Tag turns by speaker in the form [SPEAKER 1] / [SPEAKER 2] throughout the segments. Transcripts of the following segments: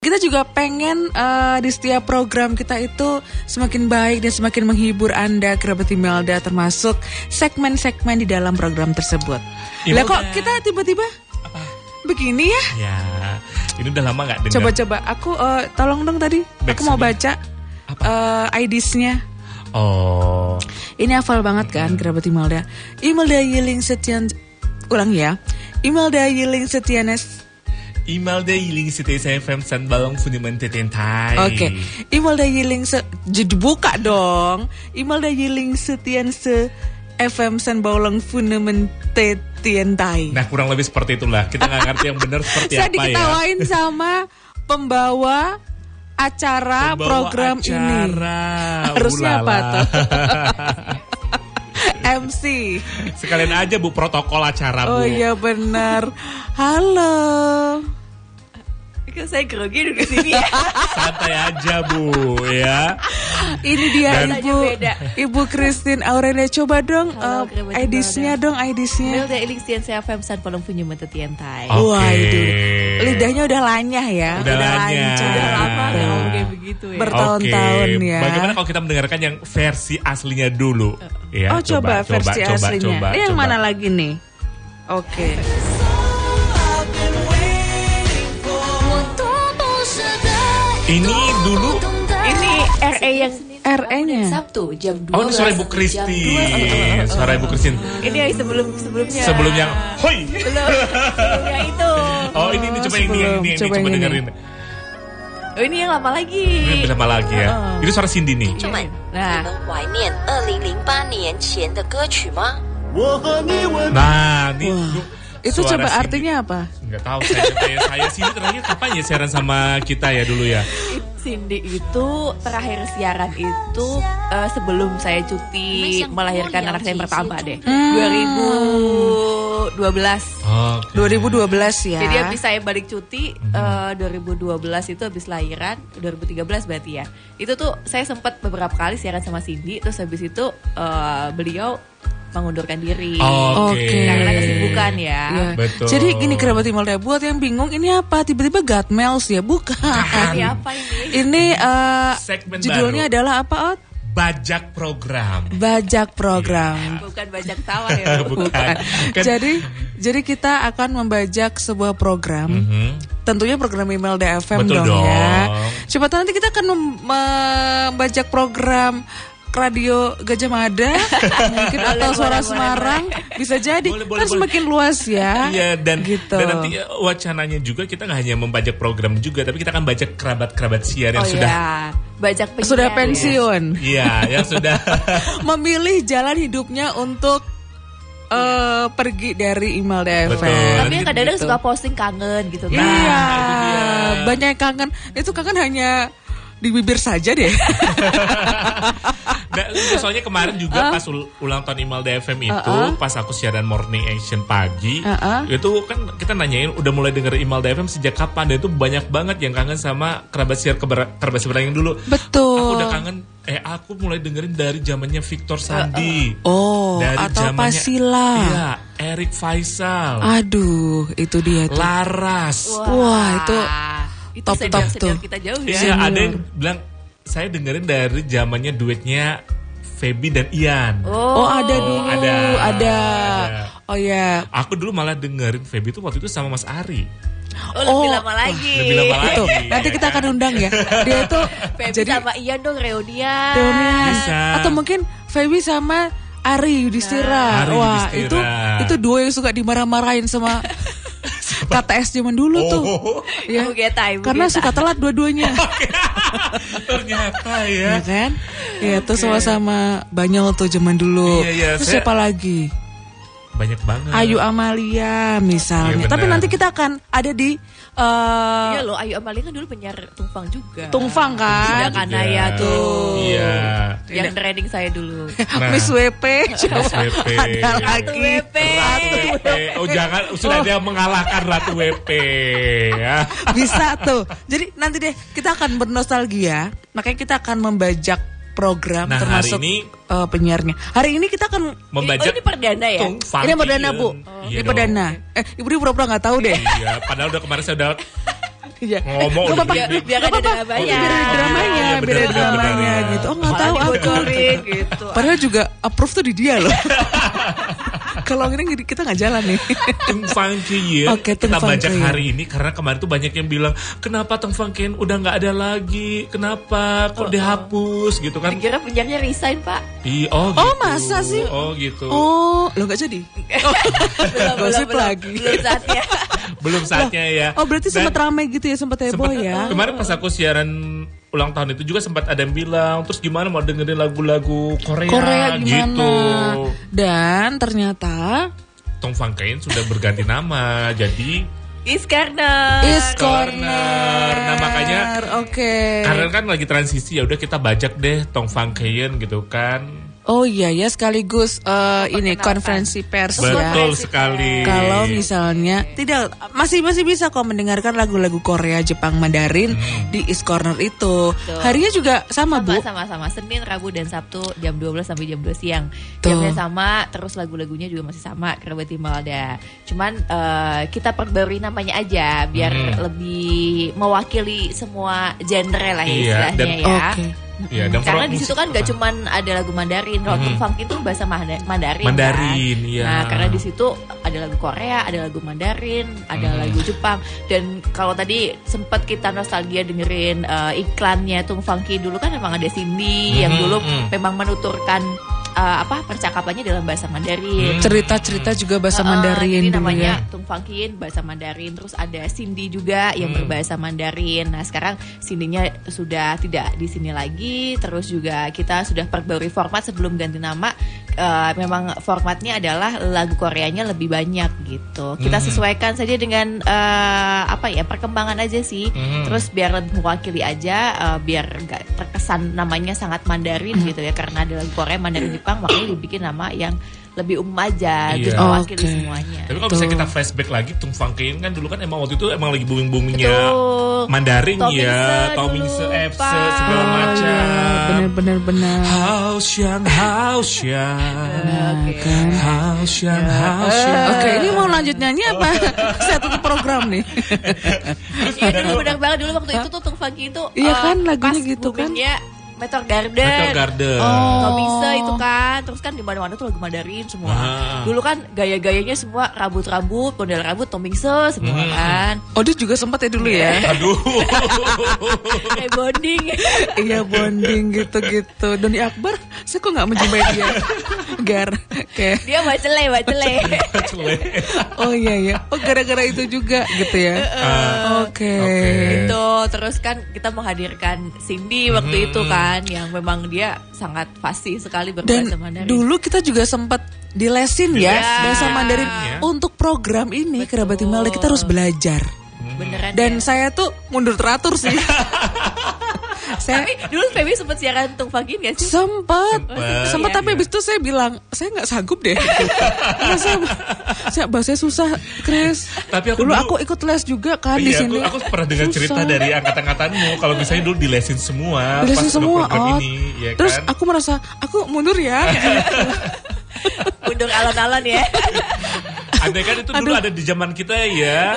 [SPEAKER 1] Kita juga pengen eh, di setiap program kita itu semakin baik dan semakin menghibur Anda, kerabat Imelda, termasuk segmen-segmen di dalam program tersebut. Lah kok kita tiba-tiba begini ya?
[SPEAKER 2] Ya, ini udah lama nggak dengar.
[SPEAKER 1] Coba-coba, aku eh, tolong dong tadi,
[SPEAKER 2] Iya. Back
[SPEAKER 1] aku mau
[SPEAKER 2] sound.
[SPEAKER 1] baca eh, IDs-nya.
[SPEAKER 2] Oh,
[SPEAKER 1] Ini hafal banget kan kerabat Imelda. Imelda Yiling Setian, ulang ya. Imelda Yiling Setianes.
[SPEAKER 2] email deh iling si FM San Balong Funiman Tetentai.
[SPEAKER 1] Oke, Imelda Yiling se jadi buka dong. Imelda Yiling Setian se FM San Baolong Funamente Tientai.
[SPEAKER 2] Nah kurang lebih seperti itulah. Kita nggak ngerti yang benar seperti
[SPEAKER 1] Saya
[SPEAKER 2] apa ya.
[SPEAKER 1] diketawain sama pembawa acara
[SPEAKER 2] Pembawa
[SPEAKER 1] program ini.
[SPEAKER 2] acara.
[SPEAKER 1] Harusnya apa
[SPEAKER 2] Ulala.
[SPEAKER 1] tuh? MC.
[SPEAKER 2] Sekalian aja bu protokol acara bu.
[SPEAKER 1] Oh iya benar. Halo.
[SPEAKER 3] Kan saya grogi duduk sini ya.
[SPEAKER 2] Santai aja bu ya.
[SPEAKER 1] Ini dia
[SPEAKER 3] Dan-
[SPEAKER 1] Ibu
[SPEAKER 3] Beda.
[SPEAKER 1] Ibu Christine Aurelia coba dong
[SPEAKER 3] Halo, kerabat
[SPEAKER 1] eh, ID-nya dong ID-nya.
[SPEAKER 3] Milda Elixir saya FM San Palung punya mata tiantai.
[SPEAKER 2] Oke.
[SPEAKER 1] Wah, itu lidahnya udah lanyah ya,
[SPEAKER 2] Udah lanyah.
[SPEAKER 3] Udah lama
[SPEAKER 2] Ah.
[SPEAKER 3] nggak ngomong kayak begitu ya.
[SPEAKER 1] Ber- bertahun-tahun
[SPEAKER 2] Oke,
[SPEAKER 1] ya.
[SPEAKER 2] Bagaimana kalau kita mendengarkan yang versi aslinya dulu? Ya,
[SPEAKER 1] oh coba, versi
[SPEAKER 2] coba,
[SPEAKER 1] aslinya.
[SPEAKER 2] coba,
[SPEAKER 1] Ini yang
[SPEAKER 2] coba.
[SPEAKER 1] mana lagi nih? Oke.
[SPEAKER 2] Ini dulu.
[SPEAKER 3] Ini RE yang
[SPEAKER 1] RE-nya.
[SPEAKER 3] Sabtu jam 2.
[SPEAKER 2] Oh
[SPEAKER 4] 哦
[SPEAKER 2] ini suara Ibu Kristi. Suara Ibu Kristin.
[SPEAKER 3] Ini yang sebelum sebelumnya.
[SPEAKER 2] Sebelum yang hoi.
[SPEAKER 3] Sebelum, sebelum yang itu.
[SPEAKER 2] Oh ini ini coba yang ini yang ini yang ini
[SPEAKER 1] Coba
[SPEAKER 2] coba
[SPEAKER 1] yang ini.
[SPEAKER 2] dengerin.
[SPEAKER 3] Oh, ini yang lama lagi.
[SPEAKER 2] Ini lebih lama lagi ya. Itu suara Cindy nih.
[SPEAKER 4] 朋友们，
[SPEAKER 3] 那
[SPEAKER 4] 你们怀念二零零八年前的歌曲吗？
[SPEAKER 2] Nah, ini
[SPEAKER 1] Wah,
[SPEAKER 2] lu-
[SPEAKER 1] Itu
[SPEAKER 2] suara
[SPEAKER 1] coba
[SPEAKER 2] Cindy.
[SPEAKER 1] artinya apa?
[SPEAKER 2] Nggak tahu saya saya, saya Cindy terakhir kapan ya siaran sama kita ya dulu ya.
[SPEAKER 3] Cindy itu terakhir siaran itu eh, sebelum saya cuti melahirkan anak saya yang ya, pertama deh. 2012.
[SPEAKER 2] Oke.
[SPEAKER 1] 2012 ya.
[SPEAKER 3] Jadi habis saya balik cuti eh, 2012 itu habis lahiran 2013 berarti ya. Itu tuh saya sempat beberapa kali siaran sama Cindy terus habis itu eh, beliau mengundurkan diri.
[SPEAKER 2] Oke.
[SPEAKER 1] Oke.
[SPEAKER 3] Karena kesibukan ya.
[SPEAKER 1] Iya.
[SPEAKER 2] Betul.
[SPEAKER 1] Jadi gini kerabat Imelda buat yang bingung ini apa tiba-tiba God Mails ya bukan.
[SPEAKER 3] Ini apa ini?
[SPEAKER 1] ini eh,
[SPEAKER 2] Segmen
[SPEAKER 1] judulnya
[SPEAKER 2] baru.
[SPEAKER 1] adalah apa? Ot?
[SPEAKER 2] Bajak program.
[SPEAKER 1] Bajak program.
[SPEAKER 3] Bukan bajak tawar ya. Bu.
[SPEAKER 2] Bukan. Kan-
[SPEAKER 1] Jadi jadi kita akan membajak sebuah program.
[SPEAKER 2] Hmm.
[SPEAKER 1] Tentunya program Imelda FM
[SPEAKER 2] Betul
[SPEAKER 1] dong, ya.
[SPEAKER 2] dong.
[SPEAKER 1] Coba tahu nanti kita akan mem- membajak program radio Gajah Mada mungkin atau suara Semarang bisa jadi
[SPEAKER 2] Boleh, boleh,
[SPEAKER 1] kan
[SPEAKER 2] boleh.
[SPEAKER 1] semakin luas ya.
[SPEAKER 2] Iya dan
[SPEAKER 1] gitu.
[SPEAKER 2] dan nanti eh, wacananya juga kita nggak hanya membajak program juga tapi kita akan bajak kerabat-kerabat siar yang
[SPEAKER 3] Oh
[SPEAKER 2] sudah
[SPEAKER 3] ya. Bajak penyiar.
[SPEAKER 1] sudah
[SPEAKER 3] ya.
[SPEAKER 1] pensiun.
[SPEAKER 2] iya yang sudah
[SPEAKER 1] memilih jalan hidupnya untuk eh, pergi dari Imelda
[SPEAKER 2] Betul. Nah,
[SPEAKER 1] FM.
[SPEAKER 3] Tapi yang kadang-kadang suka posting kangen gitu
[SPEAKER 1] Gitu.
[SPEAKER 3] kan.
[SPEAKER 1] Iya,
[SPEAKER 2] itu dia.
[SPEAKER 1] banyak yang kangen. Itu kangen hanya di bibir saja deh.
[SPEAKER 2] Nah, soalnya kemarin juga pas ul- ulang tahun Imelda FM itu, pas aku siaran morning action pagi,
[SPEAKER 1] Uh-uh.
[SPEAKER 2] itu kan kita nanyain udah mulai denger Imelda FM sejak kapan dan itu banyak banget yang kangen sama kerabat siar keber- kerabat seberang yang dulu. Aku
[SPEAKER 1] Betul.
[SPEAKER 2] udah kangen eh aku mulai dengerin dari zamannya Victor Sandi.
[SPEAKER 1] Oh, atau Pasila.
[SPEAKER 2] Iya, Erik Faisal,
[SPEAKER 1] Aduh, itu dia
[SPEAKER 2] Oh,
[SPEAKER 1] tuh.
[SPEAKER 2] Laras.
[SPEAKER 1] Wah, itu top-top
[SPEAKER 3] senior-senior
[SPEAKER 1] tuh.
[SPEAKER 3] kita jauh ya.
[SPEAKER 2] Iya, ada yang bilang saya dengerin dari zamannya duetnya Feby dan Ian.
[SPEAKER 1] Oh, ada dulu,
[SPEAKER 2] ada.
[SPEAKER 1] ada.
[SPEAKER 2] Ada.
[SPEAKER 1] Oh ya,
[SPEAKER 2] Aku dulu malah dengerin Feby itu waktu itu sama Mas Ari.
[SPEAKER 3] Oh,
[SPEAKER 1] Oh,
[SPEAKER 3] lebih lama lagi.
[SPEAKER 2] Lebih lama lagi.
[SPEAKER 1] itu. Nanti
[SPEAKER 2] ya
[SPEAKER 1] kita
[SPEAKER 2] kan?
[SPEAKER 1] akan undang ya. Dia itu
[SPEAKER 3] Feby
[SPEAKER 1] jadi
[SPEAKER 3] sama Ian dong reunian.
[SPEAKER 1] Domian.
[SPEAKER 2] Bisa.
[SPEAKER 1] Atau mungkin Feby sama Ari Yudhistira.
[SPEAKER 2] Ari
[SPEAKER 1] Wah,
[SPEAKER 2] Yudhistira.
[SPEAKER 1] itu itu duo yang suka dimarah-marahin sama KTS zaman dulu tuh.
[SPEAKER 2] Oh,
[SPEAKER 1] Ya.
[SPEAKER 3] Ibu Geta, Ibu
[SPEAKER 1] Karena
[SPEAKER 3] Geta.
[SPEAKER 1] suka telat dua-duanya.
[SPEAKER 2] ternyata
[SPEAKER 1] ya
[SPEAKER 2] ya.
[SPEAKER 1] kan? Ya, tuh sama-sama Banyol tuh zaman dulu.
[SPEAKER 2] Iya, iya,
[SPEAKER 1] Terus
[SPEAKER 2] saya-
[SPEAKER 1] siapa lagi?
[SPEAKER 2] Banyak banget.
[SPEAKER 1] Ayu Amalia misalnya.
[SPEAKER 2] Iya, benar.
[SPEAKER 1] Tapi nanti kita akan ada di eh,
[SPEAKER 3] Iya loh, Ayu Amalia kan dulu penyiar Tungfang juga.
[SPEAKER 1] Tungfang
[SPEAKER 3] Iya
[SPEAKER 2] Nah.
[SPEAKER 1] kan?
[SPEAKER 3] kan Naya tuh.
[SPEAKER 2] Iya.
[SPEAKER 3] Yang trending saya dulu.
[SPEAKER 2] Nah.
[SPEAKER 1] Miss WP.
[SPEAKER 2] Miss WP.
[SPEAKER 1] Ada
[SPEAKER 3] Ratu
[SPEAKER 1] lagi.
[SPEAKER 3] WP.
[SPEAKER 2] Eh, oh jangan sudah dia mengalahkan Ratu WP ya.
[SPEAKER 1] Bisa tuh. Jadi nanti deh kita akan bernostalgia. Makanya kita akan membajak program
[SPEAKER 2] Nah, hari
[SPEAKER 1] termasuk
[SPEAKER 2] ini-
[SPEAKER 1] eh, penyiarnya. Hari ini kita akan
[SPEAKER 2] Membajak
[SPEAKER 3] Oh, ini perdana ya?
[SPEAKER 2] Tung Fang
[SPEAKER 1] ini perdana
[SPEAKER 2] Ian.
[SPEAKER 1] bu,
[SPEAKER 2] Iya
[SPEAKER 1] ini
[SPEAKER 2] dong.
[SPEAKER 1] perdana. Eh, ibu dia pura-pura nggak tahu deh.
[SPEAKER 2] Iya, padahal udah kemarin saya udah
[SPEAKER 1] Iya.
[SPEAKER 2] Ngomong
[SPEAKER 1] Nggak
[SPEAKER 2] udah
[SPEAKER 1] apa-apa.
[SPEAKER 2] gini.
[SPEAKER 3] biar
[SPEAKER 1] Nggak
[SPEAKER 3] ada
[SPEAKER 1] apa-apa.
[SPEAKER 3] dramanya.
[SPEAKER 1] Biar ada dramanya, biar
[SPEAKER 2] Iya,
[SPEAKER 1] ada
[SPEAKER 2] benar, benar,
[SPEAKER 1] dramanya
[SPEAKER 2] benar.
[SPEAKER 1] gitu. Oh nggak tahu
[SPEAKER 3] Malah
[SPEAKER 1] aku.
[SPEAKER 3] dibocorin gitu.
[SPEAKER 1] Padahal juga approve tuh di dia loh. Kalau ini kita nggak jalan nih.
[SPEAKER 2] Tung Fang Kiyen
[SPEAKER 1] Oke, Tung
[SPEAKER 2] kita
[SPEAKER 1] Fang
[SPEAKER 2] bajak
[SPEAKER 1] Kiyen.
[SPEAKER 2] hari ini karena kemarin tuh banyak yang bilang kenapa Tung Fang Kiyen udah nggak ada lagi kenapa
[SPEAKER 1] Oh.
[SPEAKER 2] kok dihapus gitu kan
[SPEAKER 3] Dikira penyiarnya resign pak.
[SPEAKER 2] Ih,
[SPEAKER 1] Oh,
[SPEAKER 2] oh, gitu.
[SPEAKER 1] masa sih?
[SPEAKER 2] oh gitu
[SPEAKER 1] Oh, lo nggak jadi? Oh.
[SPEAKER 3] Belum,
[SPEAKER 1] Gosip
[SPEAKER 3] belum,
[SPEAKER 1] lagi.
[SPEAKER 3] Belum saatnya.
[SPEAKER 2] belum saatnya ya
[SPEAKER 1] Oh berarti
[SPEAKER 2] Dan-
[SPEAKER 1] sempat ramai gitu ya, sempat heboh
[SPEAKER 2] Sempet-
[SPEAKER 1] ya?
[SPEAKER 2] Kemarin pas aku siaran ulang tahun itu juga sempat ada yang bilang terus gimana mau dengerin lagu-lagu Korea,
[SPEAKER 1] Korea
[SPEAKER 2] eh, gitu.
[SPEAKER 1] gimana? Dan ternyata
[SPEAKER 2] Tong Fang Kain sudah berganti nama jadi
[SPEAKER 3] Is karena.
[SPEAKER 1] is
[SPEAKER 2] Corner.
[SPEAKER 1] corner.
[SPEAKER 2] Nah, makanya
[SPEAKER 1] oke.
[SPEAKER 2] karena kan lagi transisi ya udah kita bajak deh Tong Fang Kain gitu kan.
[SPEAKER 1] Oh iya ya sekaligus eh, ini konferensi pers ya.
[SPEAKER 2] Betul sekali.
[SPEAKER 1] Kalau misalnya tidak masih masih bisa kok mendengarkan lagu-lagu Korea, Jepang, Mandarin
[SPEAKER 2] Hmm.
[SPEAKER 1] di Is Corner itu. Harinya juga sama, Bu.
[SPEAKER 3] sama sama sama Senin, Rabu dan Sabtu jam 12 sampai jam 2 siang.
[SPEAKER 1] Tuh.
[SPEAKER 3] Jamnya sama, terus lagu-lagunya juga masih sama Kerabat Imelda. Cuman eh, kita perbarui namanya aja biar
[SPEAKER 1] Hmm.
[SPEAKER 3] lebih mewakili semua genre lah ya
[SPEAKER 2] Iya,
[SPEAKER 3] istilahnya
[SPEAKER 2] dan-
[SPEAKER 3] ya.
[SPEAKER 1] Oke.
[SPEAKER 2] ya, dan
[SPEAKER 3] Karena
[SPEAKER 2] from
[SPEAKER 3] di situ kan
[SPEAKER 2] musik-
[SPEAKER 3] gak cuman ada lagu Mandarin, rock
[SPEAKER 2] Hmm.
[SPEAKER 3] funk itu bahasa Manda- Mandarin.
[SPEAKER 2] Mandarin,
[SPEAKER 3] kan?
[SPEAKER 2] iya.
[SPEAKER 3] Nah, karena di situ ada lagu Korea, ada lagu Mandarin, ada
[SPEAKER 2] Hmm.
[SPEAKER 3] lagu Jepang. Dan kalau tadi sempat kita nostalgia dengerin eh, iklannya Tung Funky dulu kan memang ada Cindy yang
[SPEAKER 2] Hmm,
[SPEAKER 3] dulu
[SPEAKER 2] hmm.
[SPEAKER 3] memang menuturkan eh, apa percakapannya dalam bahasa
[SPEAKER 2] Hmm.
[SPEAKER 3] Mandarin.
[SPEAKER 1] Cerita-cerita juga bahasa
[SPEAKER 3] Heeh,
[SPEAKER 1] Mandarin
[SPEAKER 3] jadi
[SPEAKER 1] dulu
[SPEAKER 3] namanya
[SPEAKER 1] ya.
[SPEAKER 2] Iya.
[SPEAKER 3] Tung Fangkin bahasa Mandarin terus ada Cindy juga yang
[SPEAKER 2] Hmm.
[SPEAKER 3] berbahasa Mandarin nah sekarang Cindy-nya sudah tidak di sini lagi terus juga kita sudah perbarui format sebelum ganti nama eh, memang formatnya adalah lagu Koreanya lebih banyak gitu kita
[SPEAKER 2] Hmm.
[SPEAKER 3] sesuaikan saja dengan eh, apa ya perkembangan aja sih
[SPEAKER 2] Hmm.
[SPEAKER 3] terus biar lebih mewakili aja eh, biar nggak terkesan namanya sangat Mandarin
[SPEAKER 2] Hmm.
[SPEAKER 3] gitu ya karena ada lagu Korea Mandarin Jepang makanya dibikin nama yang lebih umum aja
[SPEAKER 2] Iya.
[SPEAKER 3] biar mewakili
[SPEAKER 1] Oke.
[SPEAKER 3] semuanya.
[SPEAKER 2] Tapi kalau bisa
[SPEAKER 1] Betul.
[SPEAKER 2] kita flashback lagi Tung Fang Kain kan dulu kan emang waktu itu emang lagi booming-boomingnya
[SPEAKER 3] Betul.
[SPEAKER 2] Mandarin
[SPEAKER 3] Tommy
[SPEAKER 2] ya,
[SPEAKER 3] Se
[SPEAKER 2] Tommy
[SPEAKER 3] dulu,
[SPEAKER 2] Se, Epse,
[SPEAKER 3] Pak.
[SPEAKER 2] segala macam.
[SPEAKER 1] Bener-bener benar.
[SPEAKER 2] Hao Xian, Hao Xian, Hao Xian,
[SPEAKER 1] Ya.
[SPEAKER 2] Hao Xian.
[SPEAKER 1] eh, Oke, ini mau lanjut nyanyi apa? Oh, Saya tutup program nih.
[SPEAKER 3] Iya dulu benar banget dulu waktu itu tuh Tung Funky itu.
[SPEAKER 1] Iya
[SPEAKER 3] eh,
[SPEAKER 1] kan, lagunya
[SPEAKER 3] pas
[SPEAKER 1] gitu kan.
[SPEAKER 3] boomingnya Meteor Garden.
[SPEAKER 2] Meteor Garden.
[SPEAKER 3] Tommy Se
[SPEAKER 1] Oh.
[SPEAKER 3] itu kan, terus kan di mana-mana tuh lagu Mandarin semua.
[SPEAKER 2] Ah.
[SPEAKER 3] Dulu kan gaya-gayanya semua rambut-rambut, model rambut Tommy Se semua
[SPEAKER 2] Hmm.
[SPEAKER 3] kan.
[SPEAKER 1] Oh, dia juga sempat ya dulu ya.
[SPEAKER 2] Aduh.
[SPEAKER 3] Kayak bonding.
[SPEAKER 1] Iya bonding gitu-gitu. Doni Akbar, saya kok nggak menjumpai dia. Gar, kayak
[SPEAKER 3] Dia bacele, bacele.
[SPEAKER 2] Jelek.
[SPEAKER 1] oh iya iya. Oh gara-gara itu juga gitu ya. Oke.
[SPEAKER 2] Oke.
[SPEAKER 3] gitu terus kan kita menghadirkan Cindy waktu itu
[SPEAKER 2] Hmm.
[SPEAKER 3] kan yang memang dia sangat fasih sekali
[SPEAKER 1] Dan
[SPEAKER 3] berbahasa Mandarin.
[SPEAKER 1] dulu kita juga sempat dilesin ya
[SPEAKER 2] Dilesin.
[SPEAKER 1] bahasa Mandarin
[SPEAKER 2] Ya.
[SPEAKER 1] untuk program ini kerabat Imelda kita harus belajar.
[SPEAKER 3] beneran
[SPEAKER 1] Dan
[SPEAKER 3] ya.
[SPEAKER 1] saya tuh mundur teratur sih. saya
[SPEAKER 3] tapi dulu Feby sempat siaran Tung Fagin gak sih?
[SPEAKER 1] sempet
[SPEAKER 2] Sempet.
[SPEAKER 1] sempet
[SPEAKER 2] Iya.
[SPEAKER 1] tapi abis itu saya bilang saya nggak sanggup deh Iya, saya, saya bahasanya susah Chris
[SPEAKER 2] Tapi aku
[SPEAKER 1] dulu
[SPEAKER 2] dulu-
[SPEAKER 1] aku ikut les juga kan di
[SPEAKER 2] Iya,
[SPEAKER 1] sini
[SPEAKER 2] aku, aku pernah dengar
[SPEAKER 1] Susah.
[SPEAKER 2] cerita dari angkatan-angkatanmu kalau misalnya dulu dilesin semua
[SPEAKER 1] Lesin
[SPEAKER 2] pas
[SPEAKER 1] semua
[SPEAKER 2] program
[SPEAKER 1] oh.
[SPEAKER 2] ini, ya
[SPEAKER 1] terus
[SPEAKER 2] kan?
[SPEAKER 1] aku merasa aku mundur ya
[SPEAKER 3] Undur alon-alon ya.
[SPEAKER 2] Andai kan itu
[SPEAKER 1] Aduh.
[SPEAKER 2] dulu ada di zaman kita ya.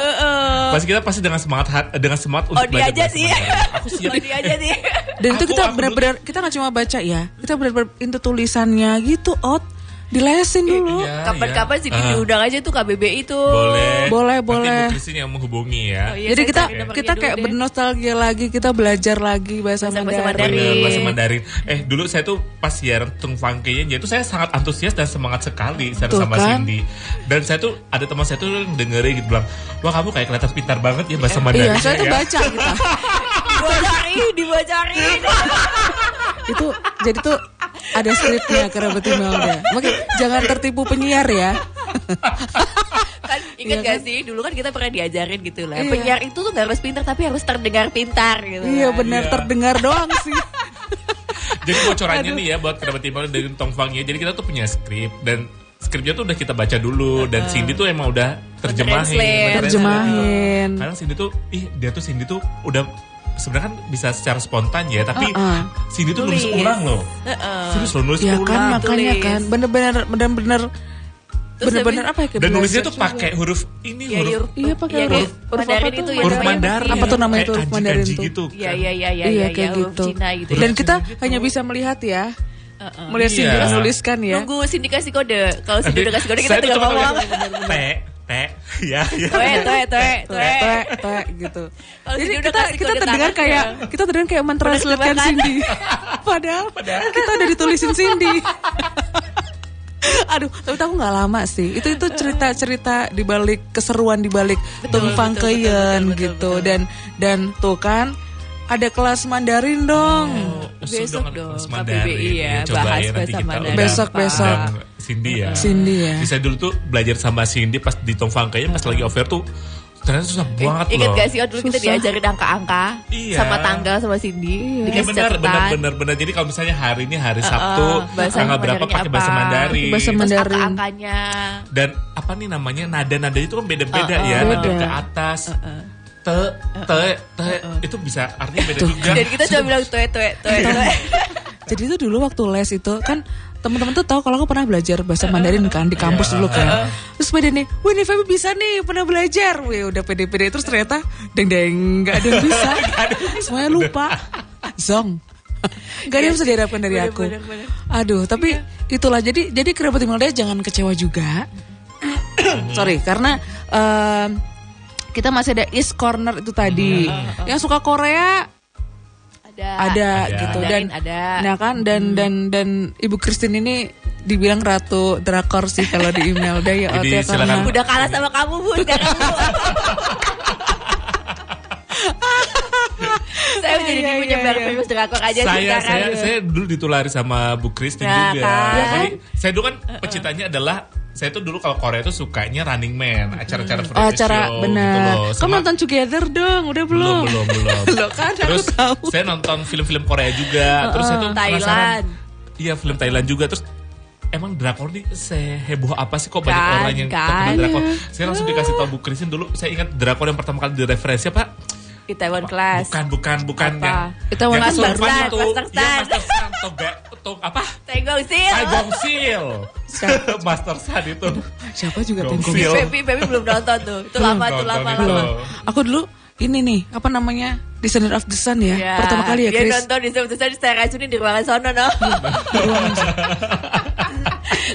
[SPEAKER 2] Pasti kita pasti dengan semangat hat- dengan semangat untuk
[SPEAKER 3] Oh dia aja
[SPEAKER 2] bahasa
[SPEAKER 3] sih.
[SPEAKER 2] Mandarin. Aku siap.
[SPEAKER 3] Oh dia aja sih.
[SPEAKER 1] dan itu
[SPEAKER 2] Aku-
[SPEAKER 1] kita
[SPEAKER 2] aku
[SPEAKER 1] benar-benar kita nggak cuma baca ya kita benar-benar itu tulisannya gitu out dilesin dulu
[SPEAKER 2] Iya,
[SPEAKER 3] Kapan-kapan
[SPEAKER 2] iya.
[SPEAKER 3] sih
[SPEAKER 2] Ah.
[SPEAKER 3] diundang aja tuh KBBI tuh.
[SPEAKER 2] Boleh.
[SPEAKER 1] Boleh,
[SPEAKER 2] Nanti
[SPEAKER 1] boleh.
[SPEAKER 2] Bu Christine yang menghubungi ya.
[SPEAKER 3] Oh, iya,
[SPEAKER 1] jadi
[SPEAKER 3] saya
[SPEAKER 1] kita
[SPEAKER 3] cari nomornya
[SPEAKER 1] kita
[SPEAKER 3] dulu
[SPEAKER 1] kayak
[SPEAKER 3] deh.
[SPEAKER 1] bernostalgia lagi kita belajar lagi bahasa,
[SPEAKER 3] Bahasa-bahasa
[SPEAKER 1] Mandarin.
[SPEAKER 3] Mandarin.
[SPEAKER 2] Bener, bahasa Mandarin. Eh dulu saya tuh pas siaran Tung Fang Kei itu saya sangat antusias dan semangat sekali saya
[SPEAKER 1] Tuh
[SPEAKER 2] sama
[SPEAKER 1] kan.
[SPEAKER 2] Cindy. Dan saya tuh ada teman saya tuh yang dengerin gitu bilang, wah kamu kayak kelihatan pintar banget ya bahasa Mandarin.
[SPEAKER 1] Iya, saya tuh
[SPEAKER 2] ya.
[SPEAKER 1] baca gitu.
[SPEAKER 3] Dibocorin, dibocorin.
[SPEAKER 1] itu jadi tuh ada scriptnya kerabat Imelda. Mungkin jangan tertipu penyiar ya.
[SPEAKER 3] kan ingat gak sih dulu kan kita pernah diajarin gitu lah.
[SPEAKER 1] Iya.
[SPEAKER 3] Penyiar itu tuh gak harus pintar tapi harus terdengar pintar gitu.
[SPEAKER 1] Iya
[SPEAKER 3] kan.
[SPEAKER 1] benar
[SPEAKER 2] Iya.
[SPEAKER 1] terdengar doang sih.
[SPEAKER 2] Jadi bocorannya nih ya buat kerabat Imelda dari Tung Fang Kei. Jadi kita tuh punya skrip dan skripnya tuh udah kita baca dulu dan Cindy tuh emang udah terjemahin.
[SPEAKER 3] Mentranslate.
[SPEAKER 2] mentranslate.
[SPEAKER 1] Terjemahin.
[SPEAKER 2] Karena Cindy tuh, ih dia tuh Cindy tuh udah sebenarnya kan bisa secara spontan ya, tapi
[SPEAKER 1] Uh-uh.
[SPEAKER 2] Cindy tuh nulis
[SPEAKER 3] Tulis.
[SPEAKER 2] ulang loh.
[SPEAKER 3] Heeh. iya kan,
[SPEAKER 2] Serius loh nulis
[SPEAKER 1] Ya
[SPEAKER 2] ulang.
[SPEAKER 1] kan makanya
[SPEAKER 3] tulis.
[SPEAKER 1] kan bener-bener bener-bener
[SPEAKER 3] Terus
[SPEAKER 1] bener-bener
[SPEAKER 3] habis-
[SPEAKER 1] apa ya?
[SPEAKER 2] Dan nulisnya tuh
[SPEAKER 1] kebelajar
[SPEAKER 2] pakai huruf ini
[SPEAKER 3] Iya,
[SPEAKER 2] huruf
[SPEAKER 1] Iya, pakai
[SPEAKER 3] iya,
[SPEAKER 1] huruf-
[SPEAKER 3] kayak
[SPEAKER 1] huruf apa tuh?
[SPEAKER 3] Mandarin itu ya,
[SPEAKER 2] huruf
[SPEAKER 3] namanya Eh,
[SPEAKER 2] Mandarin.
[SPEAKER 1] Apa tuh namanya
[SPEAKER 2] Kayak
[SPEAKER 1] tuh huruf Mandarin
[SPEAKER 2] kanji-kanji
[SPEAKER 1] tuh?
[SPEAKER 2] gitu.
[SPEAKER 3] Iya,
[SPEAKER 2] kan.
[SPEAKER 3] iya, iya, iya,
[SPEAKER 1] juga. Iya
[SPEAKER 3] iya,
[SPEAKER 1] kayak
[SPEAKER 3] huruf
[SPEAKER 1] gitu.
[SPEAKER 3] Cina gitu.
[SPEAKER 1] Dan
[SPEAKER 3] ya.
[SPEAKER 1] kita hanya bisa melihat ya,
[SPEAKER 3] Uh-uh.
[SPEAKER 1] melihat
[SPEAKER 2] Iya.
[SPEAKER 1] Cindy menuliskan ya.
[SPEAKER 3] Nunggu Cindy kasih kode. Kalau Cindy udah kasih kode kita
[SPEAKER 2] Saya tuh
[SPEAKER 3] tinggal
[SPEAKER 2] cuma
[SPEAKER 3] ngomong.
[SPEAKER 2] nulis, T, T, ya, ya.
[SPEAKER 3] Toe, toe, toe, toe.
[SPEAKER 1] Tuek, tuek, tuek, gitu.
[SPEAKER 3] Kalau
[SPEAKER 1] Jadi
[SPEAKER 3] Cindy udah
[SPEAKER 1] kita
[SPEAKER 3] kasih
[SPEAKER 1] kita
[SPEAKER 3] kode
[SPEAKER 1] terdengar
[SPEAKER 3] tangan, ya.
[SPEAKER 1] kayak kita terdengar kayak mentranslatekan
[SPEAKER 3] Bener-bener.
[SPEAKER 1] Cindy. Padahal, kita udah ditulisin Cindy. Aduh, tapi aku nggak lama sih. Itu itu cerita-cerita di balik keseruan di balik tumpang
[SPEAKER 3] betul, betul, betul,
[SPEAKER 1] keyen
[SPEAKER 3] betul,
[SPEAKER 1] gitu dan dan tuh kan ada kelas Mandarin dong.
[SPEAKER 3] Besok
[SPEAKER 2] ada
[SPEAKER 3] dong,
[SPEAKER 2] kelas
[SPEAKER 3] KBBI
[SPEAKER 2] Mandarin.
[SPEAKER 3] ya,
[SPEAKER 2] coba
[SPEAKER 3] bahas
[SPEAKER 2] ya, nanti
[SPEAKER 3] bahasa
[SPEAKER 2] kita
[SPEAKER 3] Mandarin.
[SPEAKER 2] undang-
[SPEAKER 1] Besok-besok.
[SPEAKER 2] undang Cindy
[SPEAKER 3] Uh-uh.
[SPEAKER 2] ya.
[SPEAKER 1] Cindy ya.
[SPEAKER 2] Jadi saya dulu tuh belajar sama Cindy pas di Tongfang kayaknya pas lagi over tuh ternyata susah banget
[SPEAKER 3] Uh-uh. Ingat
[SPEAKER 2] loh.
[SPEAKER 3] gak sih oh, dulu kita
[SPEAKER 1] Susah.
[SPEAKER 3] diajarin angka-angka
[SPEAKER 2] Iya.
[SPEAKER 3] sama tanggal sama Cindy
[SPEAKER 2] Iya
[SPEAKER 3] dikasih
[SPEAKER 2] benar,
[SPEAKER 3] catatan.
[SPEAKER 2] benar, benar, benar. Jadi kalau misalnya hari ini hari Sabtu,
[SPEAKER 3] bahasa
[SPEAKER 2] tanggal berapa
[SPEAKER 3] Mandarinnya
[SPEAKER 2] pakai bahasa
[SPEAKER 3] apa?
[SPEAKER 2] Mandarin.
[SPEAKER 1] Bahasa
[SPEAKER 3] Iya. Terus
[SPEAKER 1] Mandarin.
[SPEAKER 3] angka-angkanya.
[SPEAKER 2] Dan apa nih namanya nada-nada itu kan beda-beda
[SPEAKER 3] Uh-uh.
[SPEAKER 2] ya, nada
[SPEAKER 1] Beda.
[SPEAKER 2] ke atas, te, te, te, itu bisa artinya beda juga.
[SPEAKER 3] Dan kita cuma bilang toe toe toe toe.
[SPEAKER 1] Jadi itu dulu waktu les itu kan teman-teman tuh tahu kalau aku pernah belajar bahasa Mandarin kan di kampus dulu kan. Terus pede nih, wih nih Feby bisa nih pernah belajar. Wih udah pede-pede terus ternyata deng deng nggak ada yang bisa. Semuanya lupa. Zong. Gak ada yang bisa diharapkan dari
[SPEAKER 3] Bener,
[SPEAKER 1] aku.
[SPEAKER 3] bener, bener.
[SPEAKER 1] Aduh, tapi itulah jadi jadi kerabat Imelda jangan kecewa juga. Sorry, karena em, kita masih ada East Corner itu tadi. Yang suka Korea
[SPEAKER 3] Ada.
[SPEAKER 1] ada
[SPEAKER 2] Ada.
[SPEAKER 1] gitu
[SPEAKER 3] Ada,
[SPEAKER 1] dan
[SPEAKER 3] ada.
[SPEAKER 1] nah kan dan dan dan ibu Christine ini dibilang ratu drakor sih kalau di Imelda ya Ote,
[SPEAKER 2] Jadi silakan.
[SPEAKER 1] karena-
[SPEAKER 3] Udah kalah sama kamu bun sekarang Bu.
[SPEAKER 1] Iya,
[SPEAKER 3] Saya jadi
[SPEAKER 1] iya,
[SPEAKER 3] penyebar
[SPEAKER 1] iya.
[SPEAKER 3] virus drakor aja sih
[SPEAKER 2] saya
[SPEAKER 3] sekarang.
[SPEAKER 2] saya saya dulu ditulari sama Bu Christine
[SPEAKER 3] Nah,
[SPEAKER 2] juga.
[SPEAKER 3] kan?
[SPEAKER 2] Jadi saya dulu kan pecintanya adalah saya tuh dulu kalau Korea tuh sukanya Running Man,
[SPEAKER 1] Oh,
[SPEAKER 2] acara-acara variety
[SPEAKER 1] acara
[SPEAKER 2] show gitu
[SPEAKER 1] benar.
[SPEAKER 2] loh.
[SPEAKER 1] Kamu
[SPEAKER 2] Sama-
[SPEAKER 1] nonton Together dong, udah belum?
[SPEAKER 2] belum belum belum.
[SPEAKER 1] Loh, kan aku
[SPEAKER 2] terus
[SPEAKER 1] tahu.
[SPEAKER 2] saya nonton film-film Korea juga, terus saya tuh
[SPEAKER 3] Thailand.
[SPEAKER 2] penasaran. Iya, film Thailand juga terus Emang drakor nih seheboh apa sih kok banyak
[SPEAKER 3] Kan,
[SPEAKER 2] orang yang
[SPEAKER 3] kan.
[SPEAKER 2] terkena drakor? Saya langsung dikasih tahu Bu Christine dulu. Saya ingat drakor yang pertama kali direferensi apa? Apa?
[SPEAKER 3] Itaewon Class.
[SPEAKER 2] Bukan, bukan, bukan
[SPEAKER 3] Apa?
[SPEAKER 2] yang
[SPEAKER 1] Itu Master
[SPEAKER 2] kesurupan
[SPEAKER 3] Stan,
[SPEAKER 2] itu.
[SPEAKER 3] Master
[SPEAKER 2] Iya,
[SPEAKER 3] Stan. Iya.
[SPEAKER 2] Master Stan. Toga, tog, apa?
[SPEAKER 3] Tenggong sil.
[SPEAKER 2] Tai Gong Seal. Master Stan itu.
[SPEAKER 1] Siapa juga
[SPEAKER 2] Dong,
[SPEAKER 1] tengok.
[SPEAKER 2] Sil.
[SPEAKER 3] Baby, baby belum nonton tuh. Itu lama, itu
[SPEAKER 2] Nonton
[SPEAKER 3] lama,
[SPEAKER 2] itu.
[SPEAKER 3] lama.
[SPEAKER 1] Aku dulu ini nih, apa namanya? Descendant of the Sun ya.
[SPEAKER 3] Ya,
[SPEAKER 1] Pertama kali ya,
[SPEAKER 3] Dia
[SPEAKER 1] Chris.
[SPEAKER 3] nonton di sebetulnya saya racunin di ruangan sono no.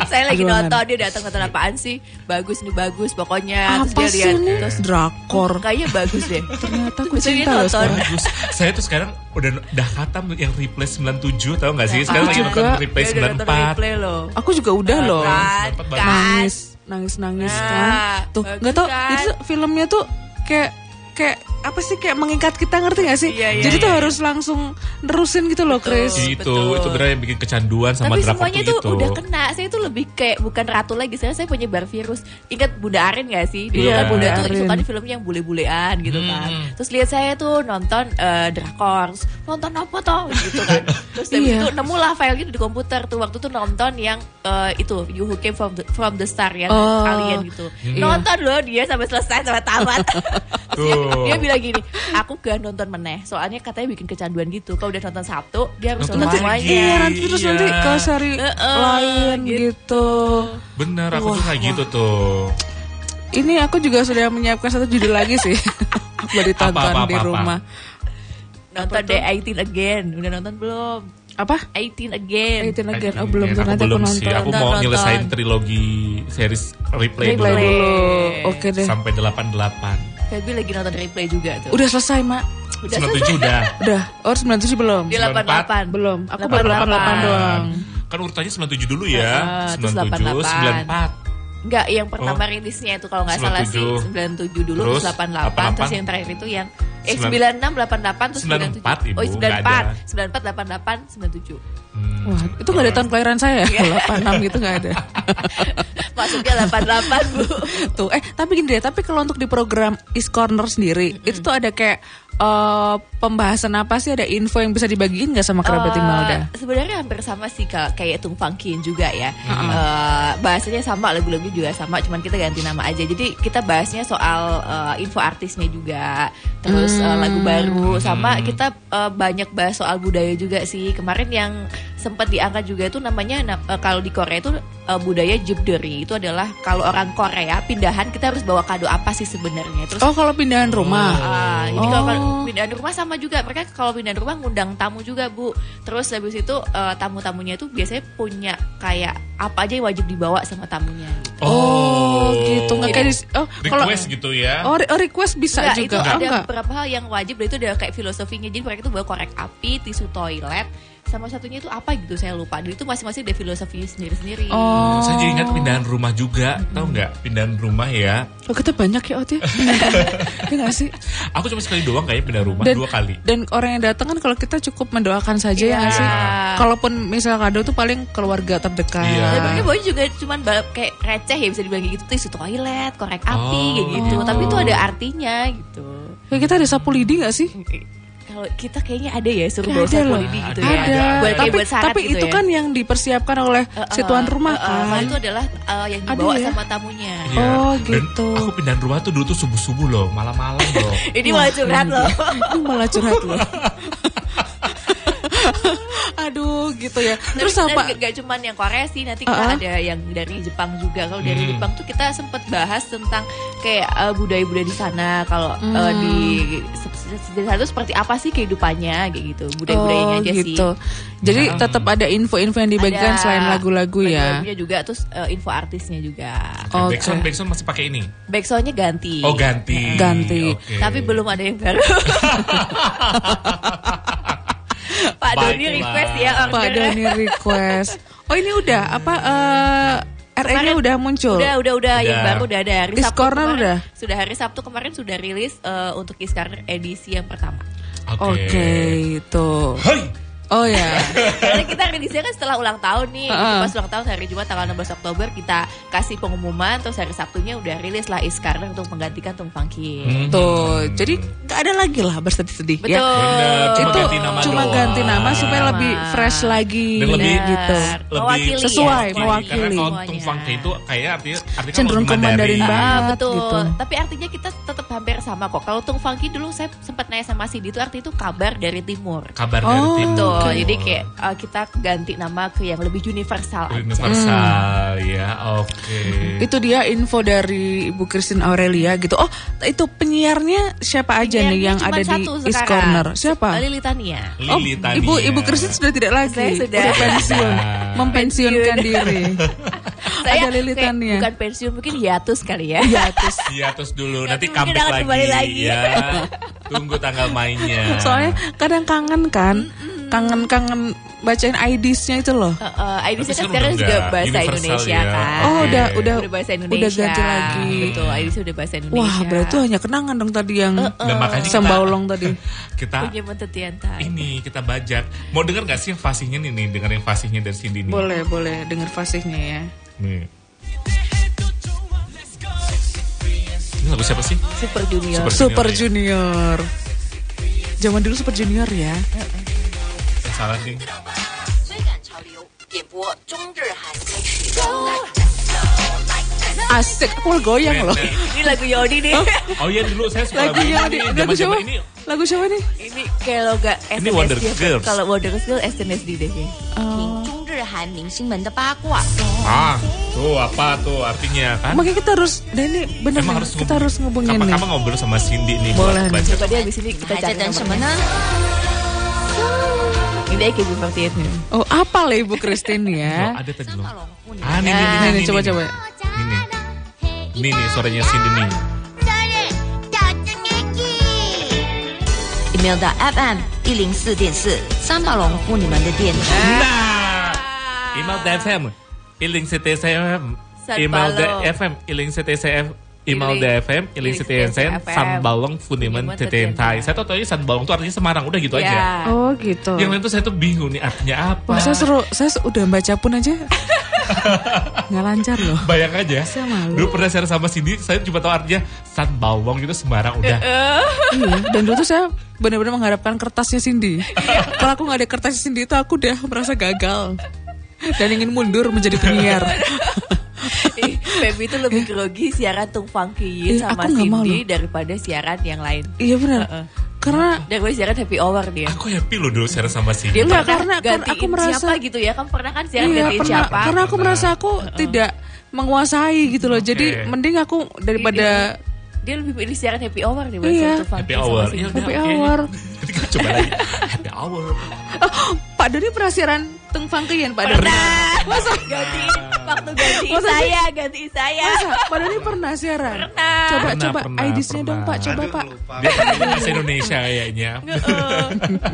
[SPEAKER 3] saya lagi
[SPEAKER 1] Ruangan.
[SPEAKER 3] nonton dia datang nonton apaan sih? Bagus nih bagus pokoknya.
[SPEAKER 1] Apa
[SPEAKER 3] Terus dia
[SPEAKER 1] sih
[SPEAKER 3] lihat,
[SPEAKER 1] ini?
[SPEAKER 3] terus,
[SPEAKER 1] Drakor.
[SPEAKER 3] Kayaknya bagus deh.
[SPEAKER 1] Ternyata aku
[SPEAKER 3] Terus gitu, dia
[SPEAKER 1] cinta loh
[SPEAKER 3] nonton.
[SPEAKER 1] sekarang.
[SPEAKER 2] Bagus. Saya tuh sekarang udah udah khatam yang replay 97 tau gak sih? Sekarang lagi
[SPEAKER 1] Aku
[SPEAKER 2] nonton
[SPEAKER 1] juga.
[SPEAKER 2] replay
[SPEAKER 3] Dia Iya, udah nonton
[SPEAKER 2] 94.
[SPEAKER 3] replay loh.
[SPEAKER 1] Aku juga udah loh.
[SPEAKER 3] Kan,
[SPEAKER 2] Dapat banget.
[SPEAKER 3] kan.
[SPEAKER 1] nangis nangis nangis
[SPEAKER 3] Nah,
[SPEAKER 1] kan tuh
[SPEAKER 3] bagus
[SPEAKER 1] nggak tau
[SPEAKER 3] kan?
[SPEAKER 1] itu filmnya tuh kayak kayak apa sih kayak mengikat kita ngerti gak sih
[SPEAKER 3] Iya, iya,
[SPEAKER 1] jadi tuh
[SPEAKER 3] iya.
[SPEAKER 1] harus langsung nerusin gitu loh Chris
[SPEAKER 3] Betul. Iya,
[SPEAKER 2] Itu, itu benar yang bikin kecanduan sama gitu.
[SPEAKER 3] Tapi
[SPEAKER 2] drakor
[SPEAKER 3] semuanya
[SPEAKER 2] tuh
[SPEAKER 3] itu
[SPEAKER 2] itu.
[SPEAKER 3] udah kena. Saya itu lebih kayak bukan ratu lagi. Saya saya penyebar virus. Ingat Bunda Arin gak sih? Dulu
[SPEAKER 2] Iya.
[SPEAKER 3] kan Bunda tuh
[SPEAKER 1] Arin.
[SPEAKER 3] suka di filmnya yang bule-bulean gitu kan.
[SPEAKER 2] Hmm.
[SPEAKER 3] Terus lihat saya tuh nonton eh, drakor. Terus, Nonton apa toh gitu kan. Terus habis
[SPEAKER 1] Iya.
[SPEAKER 3] itu nemulah file gitu di komputer tuh waktu tuh nonton yang eh, itu You Who Came From the, from the Star yang
[SPEAKER 1] Oh.
[SPEAKER 3] alien gitu.
[SPEAKER 2] Iya.
[SPEAKER 3] Nonton loh dia sampai selesai sampai tamat. Terus
[SPEAKER 2] Tuh.
[SPEAKER 3] dia, dia bilang gini, aku gak nonton meneh. Soalnya katanya bikin kecanduan gitu. Kalau udah nonton satu, dia harus
[SPEAKER 2] Nonton
[SPEAKER 3] nonton,
[SPEAKER 2] lagi.
[SPEAKER 3] semuanya.
[SPEAKER 1] iya nanti terus
[SPEAKER 2] Iya.
[SPEAKER 1] nanti ke seri
[SPEAKER 3] Heeh,
[SPEAKER 1] lain gitu.
[SPEAKER 3] gitu.
[SPEAKER 2] Bener, aku tuh kayak gitu tuh.
[SPEAKER 1] ini aku juga sudah menyiapkan satu judul lagi sih buat ditonton
[SPEAKER 2] Apa, apa,
[SPEAKER 1] di
[SPEAKER 2] apa, apa?
[SPEAKER 1] rumah
[SPEAKER 3] Nonton deh 18 Again. Udah nonton belum?
[SPEAKER 1] apa
[SPEAKER 3] 18 Again.
[SPEAKER 1] itu again oh belum tuh
[SPEAKER 2] aku
[SPEAKER 1] nanti aku
[SPEAKER 2] belum
[SPEAKER 1] nonton
[SPEAKER 2] sih. Aku
[SPEAKER 3] Nonton,
[SPEAKER 2] mau
[SPEAKER 3] nonton.
[SPEAKER 2] nyelesain trilogi series
[SPEAKER 1] Play
[SPEAKER 2] replay, dulu.
[SPEAKER 1] dulu oke deh
[SPEAKER 2] Sampai 88.
[SPEAKER 3] Feby lagi nonton replay juga tuh.
[SPEAKER 1] udah selesai mak
[SPEAKER 3] Udah
[SPEAKER 2] 97 udah.
[SPEAKER 1] udah oh 97 belum
[SPEAKER 3] Dia 88.
[SPEAKER 1] belum aku baru 88 doang
[SPEAKER 2] Kan urutannya 97 dulu ya.
[SPEAKER 3] Heeh, terus
[SPEAKER 2] 97, 94.
[SPEAKER 3] 88. Enggak, yang pertama
[SPEAKER 2] Oh.
[SPEAKER 3] rilisnya itu kalau nggak salah sih 97 dulu,
[SPEAKER 2] Terus
[SPEAKER 3] terus
[SPEAKER 2] 88.
[SPEAKER 3] 88, terus yang terakhir itu yang eh
[SPEAKER 2] Sembilan-
[SPEAKER 3] 96, 88, terus
[SPEAKER 2] 94,
[SPEAKER 3] 97.
[SPEAKER 2] Ibu,
[SPEAKER 3] oh,
[SPEAKER 2] nggak ada.
[SPEAKER 3] 94, 94, 88, 97.
[SPEAKER 2] Hmm.
[SPEAKER 1] Wah, itu gak ada tahun kelahiran saya
[SPEAKER 3] Iya.
[SPEAKER 1] ya? 86 gitu gak ada.
[SPEAKER 3] Maksudnya 88, Bu.
[SPEAKER 1] Tuh, eh tapi gini deh, tapi kalau untuk di program East Corner sendiri, itu tuh ada kayak eh, pembahasan apa sih? Ada info yang bisa dibagiin gak sama kerabat
[SPEAKER 3] Eh,
[SPEAKER 1] Imelda?
[SPEAKER 3] Sebenarnya hampir sama sih ka- kayak Tung Fangkin juga ya. Eh, bahasanya sama, lagu-lagu juga sama, cuman kita ganti nama aja. Jadi kita bahasnya soal eh, info artisnya juga, terus eh, lagu baru sama kita eh, banyak bahas soal budaya juga sih. Kemarin yang sempat diangkat juga itu namanya na- eh, kalau di Korea itu eh, budaya jibderi itu adalah kalau orang Korea pindahan kita harus bawa kado apa sih sebenarnya terus
[SPEAKER 1] Oh kalau pindahan rumah.
[SPEAKER 3] Ah, jadi kalau
[SPEAKER 1] Oh.
[SPEAKER 3] kalau pindahan rumah sama juga mereka kalau pindahan rumah ngundang tamu juga bu terus habis itu eh, tamu-tamunya itu biasanya punya kayak apa aja yang wajib dibawa sama tamunya gitu.
[SPEAKER 1] Oh, gitu nggak kayak dis- oh kalau
[SPEAKER 2] request gitu ya.
[SPEAKER 1] oh, re- oh, request bisa
[SPEAKER 3] Enggak,
[SPEAKER 1] juga.
[SPEAKER 3] itu
[SPEAKER 1] Oh,
[SPEAKER 3] ada
[SPEAKER 1] enggak.
[SPEAKER 3] beberapa hal yang wajib dan itu udah kayak filosofinya jadi mereka itu bawa korek api tisu toilet sama satunya itu apa gitu saya lupa dan itu masing-masing ada filosofinya sendiri-sendiri
[SPEAKER 1] Oh.
[SPEAKER 2] Hmm, Saya jadi ingat pindahan rumah juga, tahu nggak? Pindahan rumah ya.
[SPEAKER 1] Oh, kita banyak ya Ot ya. Iya nggak sih?
[SPEAKER 2] Aku cuma sekali doang kayaknya pindah rumah, dua kali.
[SPEAKER 1] Dan orang yang datang kan kalau kita cukup mendoakan saja ya nggak sih.
[SPEAKER 3] Iya.
[SPEAKER 1] Kalaupun misal kado tuh paling keluarga terdekat.
[SPEAKER 2] Iya.
[SPEAKER 3] Dan mereka bawa juga cuman bal- kayak receh ya bisa dibilang kayak gitu tisu toilet korek api
[SPEAKER 2] Oh.
[SPEAKER 3] kayak gitu tapi itu ada artinya gitu
[SPEAKER 1] Kayak kita ada sapu lidi nggak sih?
[SPEAKER 3] kalau kita kayaknya ada ya suruh
[SPEAKER 1] Nggak
[SPEAKER 3] bawa
[SPEAKER 1] ada
[SPEAKER 3] sapu
[SPEAKER 1] loh.
[SPEAKER 3] lidi gitu
[SPEAKER 2] Ada.
[SPEAKER 3] ya. Buat,
[SPEAKER 1] tapi
[SPEAKER 3] tapi, buat syarat
[SPEAKER 1] tapi
[SPEAKER 3] gitu
[SPEAKER 1] itu
[SPEAKER 3] ya.
[SPEAKER 1] kan yang dipersiapkan oleh
[SPEAKER 3] Eh,
[SPEAKER 1] si tuan rumah
[SPEAKER 3] eh, eh,
[SPEAKER 1] kan.
[SPEAKER 3] itu adalah eh, yang
[SPEAKER 1] Ada
[SPEAKER 3] dibawa
[SPEAKER 1] ya?
[SPEAKER 3] sama tamunya.
[SPEAKER 2] Iya.
[SPEAKER 1] Oh,
[SPEAKER 2] Dan
[SPEAKER 1] gitu.
[SPEAKER 2] aku pindahan rumah tuh dulu tuh subuh-subuh loh, malam-malam loh.
[SPEAKER 1] Iya.
[SPEAKER 3] Ini malah curhat loh.
[SPEAKER 1] Ini malah curhat loh. Aduh gitu ya. Terus apa?
[SPEAKER 3] Gak, cuman yang Korea sih, nanti kita
[SPEAKER 1] Uh-uh.
[SPEAKER 3] ada yang dari Jepang juga. Kalau dari
[SPEAKER 2] Hmm.
[SPEAKER 3] Jepang tuh kita sempet bahas tentang kayak eh, budaya-budaya di sana. Kalau eh,
[SPEAKER 1] Hmm.
[SPEAKER 3] di di sana tuh seperti apa sih kehidupannya, kayak gitu. Budaya-budayanya
[SPEAKER 1] Oh,
[SPEAKER 3] aja sih. Uh-huh.
[SPEAKER 1] gitu. Jadi tetap ada info-info yang dibagikan
[SPEAKER 3] Ada
[SPEAKER 1] selain lagu-lagu ya. Oh.
[SPEAKER 3] lagu-lagunya juga, terus eh, info artisnya juga.
[SPEAKER 1] Oke.
[SPEAKER 2] Nah,
[SPEAKER 1] Iya.
[SPEAKER 2] Backsound, backsound masih pakai ini.
[SPEAKER 3] Backsoundnya ganti.
[SPEAKER 2] Oh ganti.
[SPEAKER 1] Ganti.
[SPEAKER 2] Oke.
[SPEAKER 3] Tapi belum ada yang baru. Pak Doni
[SPEAKER 2] Baiklah.
[SPEAKER 3] request ya
[SPEAKER 1] Pak
[SPEAKER 3] ordernya.
[SPEAKER 1] Doni request. Oh ini udah apa eh RE-nya udah muncul.
[SPEAKER 3] Udah, udah, udah, yang
[SPEAKER 2] Udah.
[SPEAKER 3] baru udah ada hari
[SPEAKER 1] Kiss
[SPEAKER 3] Sabtu
[SPEAKER 1] Corner
[SPEAKER 3] kemarin-
[SPEAKER 1] udah?
[SPEAKER 3] Sudah hari Sabtu kemarin sudah rilis eh, untuk Kiss Corner edisi yang pertama.
[SPEAKER 1] Oke, tuh.
[SPEAKER 2] Hei.
[SPEAKER 1] Oh ya.
[SPEAKER 3] Karena kita rilisnya kan setelah ulang tahun nih. Jadi
[SPEAKER 1] Heeh.
[SPEAKER 3] Pas ulang tahun hari Jumat tanggal 16 Oktober kita kasih pengumuman terus hari Sabtunya udah rilis lah Kiss Corner untuk menggantikan Tung
[SPEAKER 2] Hmm.
[SPEAKER 3] Fangki.
[SPEAKER 1] Hmm. Tuh. Jadi nggak ada lagi lah bersedih-sedih
[SPEAKER 3] Betul.
[SPEAKER 1] ya.
[SPEAKER 2] Bener, Iya. cuma
[SPEAKER 1] Itu
[SPEAKER 2] ganti nama
[SPEAKER 1] cuma
[SPEAKER 2] doang.
[SPEAKER 1] ganti nama supaya lebih fresh lagi
[SPEAKER 2] Dan lebih-
[SPEAKER 1] gitu.
[SPEAKER 3] Benar.
[SPEAKER 2] Lebih
[SPEAKER 3] Mewakili ya,
[SPEAKER 1] sesuai,
[SPEAKER 2] Karena
[SPEAKER 1] mewakili.
[SPEAKER 2] kalau
[SPEAKER 3] semuanya.
[SPEAKER 2] Tung Fangke itu kayaknya artinya artinya
[SPEAKER 1] Cenderung
[SPEAKER 2] kan
[SPEAKER 1] ke Mandarin banget.
[SPEAKER 3] Ah,
[SPEAKER 1] banget
[SPEAKER 3] betul.
[SPEAKER 1] gitu.
[SPEAKER 3] Tapi artinya kita tetap hampir sama kok. Kalau Tung Fangki dulu saya sempat nanya sama Sidi itu artinya itu kabar dari timur.
[SPEAKER 2] Kabar dari
[SPEAKER 1] Oh,
[SPEAKER 2] tim.
[SPEAKER 3] Betul. Gitu. Jadi kayak uh, kita ganti nama ke yang lebih universal. aja.
[SPEAKER 2] universal ya. Oke.
[SPEAKER 1] Itu dia info dari Ibu Christine Aurelia gitu. Oh, itu penyiarnya siapa aja nih
[SPEAKER 3] Penyiarnya
[SPEAKER 1] yang
[SPEAKER 3] Iya, cuma
[SPEAKER 1] ada di
[SPEAKER 3] satu
[SPEAKER 1] East
[SPEAKER 3] sekarang. iya.
[SPEAKER 1] Corner? Siapa?
[SPEAKER 3] Lili Tania.
[SPEAKER 1] Oh,
[SPEAKER 2] Lili Iya. Tania.
[SPEAKER 1] Ibu Ibu Christine sudah tidak lagi.
[SPEAKER 3] Saya sudah.
[SPEAKER 1] pensiun.
[SPEAKER 2] Sudah.
[SPEAKER 1] Mempensiunkan diri. Ah, ada iya. Lili ya?
[SPEAKER 3] kayak
[SPEAKER 1] Tania.
[SPEAKER 3] bukan pensiun mungkin hiatus kali ya.
[SPEAKER 2] Iya terus dulu
[SPEAKER 3] Ya,
[SPEAKER 2] nanti
[SPEAKER 3] mungkin
[SPEAKER 2] comeback
[SPEAKER 3] akan
[SPEAKER 2] lagi,
[SPEAKER 3] kembali lagi.
[SPEAKER 2] ya. Tunggu tanggal mainnya.
[SPEAKER 1] Soalnya kadang kangen kan, kangen-kangen bacain IDs-nya itu loh.
[SPEAKER 3] Uh, uh,
[SPEAKER 2] Tapi
[SPEAKER 3] ID saya kan
[SPEAKER 2] sekarang
[SPEAKER 3] sekarang
[SPEAKER 2] udah
[SPEAKER 3] juga
[SPEAKER 2] enggak.
[SPEAKER 3] bahasa
[SPEAKER 2] Universal
[SPEAKER 3] Indonesia
[SPEAKER 2] ya.
[SPEAKER 3] kan.
[SPEAKER 1] Oh,
[SPEAKER 2] Oke.
[SPEAKER 1] udah udah
[SPEAKER 3] Udah bahasa Indonesia.
[SPEAKER 1] Udah ganti lagi.
[SPEAKER 3] Betul, ID saya udah bahasa Indonesia.
[SPEAKER 1] Wah, berarti itu hanya kenangan dong tadi yang
[SPEAKER 2] Nah, makanya kita-
[SPEAKER 1] sembaulong tadi.
[SPEAKER 2] Kita
[SPEAKER 3] punya mentut tiantai.
[SPEAKER 2] ini kita bajak. Mau denger gak sih yang fasihnya nih, nih dengerin fasihnya dari Cindy nih.
[SPEAKER 1] Boleh, boleh denger fasihnya ya.
[SPEAKER 2] Nih. Ini lagu siapa sih?
[SPEAKER 3] Super Junior.
[SPEAKER 2] Super-
[SPEAKER 1] Super Junior.
[SPEAKER 2] Junior ya.
[SPEAKER 1] Zaman dulu Super Junior ya.
[SPEAKER 2] Yang Salah nih.
[SPEAKER 4] 追赶潮流，点播中日韩歌曲。
[SPEAKER 1] Asik, aku goyang loh.
[SPEAKER 2] Bener.
[SPEAKER 3] Ini lagu Yodi nih.
[SPEAKER 2] Oh iya dulu saya suka lagu
[SPEAKER 1] Lagunya
[SPEAKER 2] ini.
[SPEAKER 1] di-
[SPEAKER 2] Zaman
[SPEAKER 1] lagu siapa?
[SPEAKER 2] ini
[SPEAKER 1] Lagu siapa nih?
[SPEAKER 3] ini kalau gak SNSD.
[SPEAKER 2] Ini Wonder Girls.
[SPEAKER 3] Kalau Wonder Girls SNSD deh. kayaknya.
[SPEAKER 4] 听中日韩明星们的八卦，
[SPEAKER 2] ah tuh apa tuh artinya kan?
[SPEAKER 1] Makanya kita harus, dan ini bener nih,
[SPEAKER 2] Emang harus
[SPEAKER 1] kita harus ngebungin
[SPEAKER 2] Kapan-
[SPEAKER 1] nih.
[SPEAKER 2] kapan ngobrol sama Cindy nih
[SPEAKER 1] Boleh nih.
[SPEAKER 2] buat baca.
[SPEAKER 3] Coba dia abis ini
[SPEAKER 4] 你
[SPEAKER 3] kita
[SPEAKER 4] 还
[SPEAKER 3] cari
[SPEAKER 4] 在等什么
[SPEAKER 3] nomornya.
[SPEAKER 4] 呢？
[SPEAKER 3] Ini AKB48 nih.
[SPEAKER 1] Oh, apa lah Ibu Christine
[SPEAKER 2] Loh,
[SPEAKER 1] ya?
[SPEAKER 2] Oh, ada tadi
[SPEAKER 4] 三
[SPEAKER 2] loh.
[SPEAKER 4] 马龙虎女。
[SPEAKER 2] Ah, nih, nih,
[SPEAKER 1] Nah,
[SPEAKER 2] nih,
[SPEAKER 1] ini
[SPEAKER 2] nih, nih.
[SPEAKER 1] coba-coba.
[SPEAKER 2] Ini. Ini nih suaranya Cindy nih.
[SPEAKER 4] Imelda FM 一零四点四，三宝龙护你们的电台。
[SPEAKER 2] Nah, email DFM, iling CTCM,
[SPEAKER 3] San
[SPEAKER 2] email
[SPEAKER 3] Balong.
[SPEAKER 2] DFM, iling CTCM, email
[SPEAKER 3] Iling-
[SPEAKER 2] DFM, iling
[SPEAKER 3] Iling
[SPEAKER 2] CTCM,
[SPEAKER 3] CTCM,
[SPEAKER 2] San Balong Funiman
[SPEAKER 3] Funiman
[SPEAKER 2] Tetentai.
[SPEAKER 3] Tetentai.
[SPEAKER 2] Saya tahu aja San Balong itu artinya Semarang, udah gitu aja.
[SPEAKER 3] Ya.
[SPEAKER 1] Oh gitu.
[SPEAKER 2] Yang lain tuh saya tuh bingung nih artinya apa.
[SPEAKER 1] Wah, saya seru, saya se- udah baca pun aja nggak lancar loh.
[SPEAKER 2] Bayang aja.
[SPEAKER 1] Saya malu.
[SPEAKER 2] Dulu pernah share sama Cindy, saya cuma tahu artinya San Balong itu Semarang udah.
[SPEAKER 1] Iya. Dan dulu tuh saya benar-benar mengharapkan kertasnya Cindy. Kalau aku nggak ada kertasnya Cindy itu aku udah merasa gagal dan ingin mundur menjadi penyiar.
[SPEAKER 3] Ih, Feby itu lebih grogi siaran Tung Fangki
[SPEAKER 1] Ih,
[SPEAKER 3] sama
[SPEAKER 1] Eh, aku nggak mau
[SPEAKER 3] Cindy
[SPEAKER 1] loh.
[SPEAKER 3] daripada siaran yang lain.
[SPEAKER 1] iya benar. Karena
[SPEAKER 3] Dan gue siaran happy hour dia.
[SPEAKER 2] Aku happy loh dulu share sama si
[SPEAKER 3] eh. Dia
[SPEAKER 1] Enggak,
[SPEAKER 3] pernah
[SPEAKER 1] karena- karena
[SPEAKER 3] gantiin
[SPEAKER 1] aku merasa-
[SPEAKER 3] siapa gitu ya. Kamu pernah kan siaran
[SPEAKER 1] iya,
[SPEAKER 3] gantiin
[SPEAKER 1] pernah-
[SPEAKER 3] siapa?
[SPEAKER 1] karena aku merasa aku tidak menguasai gitu loh. Jadi
[SPEAKER 2] Oke.
[SPEAKER 1] mending aku daripada
[SPEAKER 3] dia lebih pilih siaran happy hour nih
[SPEAKER 1] Iya.
[SPEAKER 2] Happy hour. Iya, udah,
[SPEAKER 1] Happy
[SPEAKER 2] oke.
[SPEAKER 1] hour.
[SPEAKER 2] Nanti kita coba lagi. Happy hour.
[SPEAKER 1] Oh, Pak Doni pernah siaran Tung Fangkeyan Pak Doni. Masa?
[SPEAKER 3] ganti waktu ganti
[SPEAKER 1] Masa sih?
[SPEAKER 3] saya ganti saya
[SPEAKER 1] Masa? Iya, Pak Doni pernah siaran?
[SPEAKER 3] Pernah.
[SPEAKER 1] Coba
[SPEAKER 2] Pernah,
[SPEAKER 1] coba
[SPEAKER 2] pernah,
[SPEAKER 1] ID-nya dong
[SPEAKER 2] pernah.
[SPEAKER 1] Pak, coba
[SPEAKER 5] Aduh,
[SPEAKER 1] Pak.
[SPEAKER 5] lupa.
[SPEAKER 2] Dia panggilnya bahasa Indonesia kayaknya. Eh,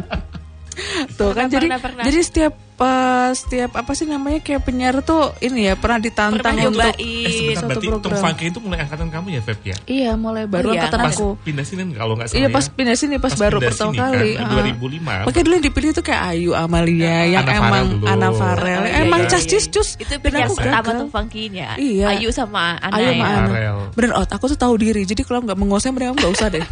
[SPEAKER 1] Tuh kan
[SPEAKER 3] Pernah,
[SPEAKER 1] jadi
[SPEAKER 3] pernah, pernah.
[SPEAKER 1] jadi setiap eh, setiap apa sih namanya kayak penyiar tuh ini ya pernah ditantang untuk
[SPEAKER 2] Eh,
[SPEAKER 3] pernah nyobain
[SPEAKER 2] sebentar,
[SPEAKER 1] iya, Satu
[SPEAKER 2] berarti Tung
[SPEAKER 1] program.
[SPEAKER 2] Fangke itu mulai angkatan kamu ya, Feb ya?
[SPEAKER 1] Iya, mulai baru
[SPEAKER 3] Iya,
[SPEAKER 1] angkatan
[SPEAKER 3] kan.
[SPEAKER 1] aku.
[SPEAKER 2] Pindah sini kalau nggak salah.
[SPEAKER 1] Iya
[SPEAKER 2] ya.
[SPEAKER 1] pas pindah sini pas,
[SPEAKER 2] Pas
[SPEAKER 1] baru
[SPEAKER 2] pindah
[SPEAKER 1] pertama
[SPEAKER 2] sini kan,
[SPEAKER 1] kali. ah.
[SPEAKER 2] 2005.
[SPEAKER 1] Makanya dulu yang dipilih tuh kayak Ayu Amalia yang
[SPEAKER 2] Iya, Ana
[SPEAKER 1] emang
[SPEAKER 2] Farel dulu.
[SPEAKER 1] Ana Farel.
[SPEAKER 2] Oh, iya,
[SPEAKER 1] Eh, emang
[SPEAKER 2] iya,
[SPEAKER 1] cas cis cus.
[SPEAKER 3] itu
[SPEAKER 1] Dan
[SPEAKER 3] penyiar
[SPEAKER 1] aku
[SPEAKER 3] pertama
[SPEAKER 1] gagal.
[SPEAKER 3] tuh funky-nya
[SPEAKER 1] Iya.
[SPEAKER 3] ya. Ayu sama Ana
[SPEAKER 1] Ayu sama
[SPEAKER 3] ya.
[SPEAKER 1] Ana.
[SPEAKER 2] Farel.
[SPEAKER 1] Bener Ot, aku tuh tahu diri. Jadi kalau nggak menguasai mereka nggak usah deh.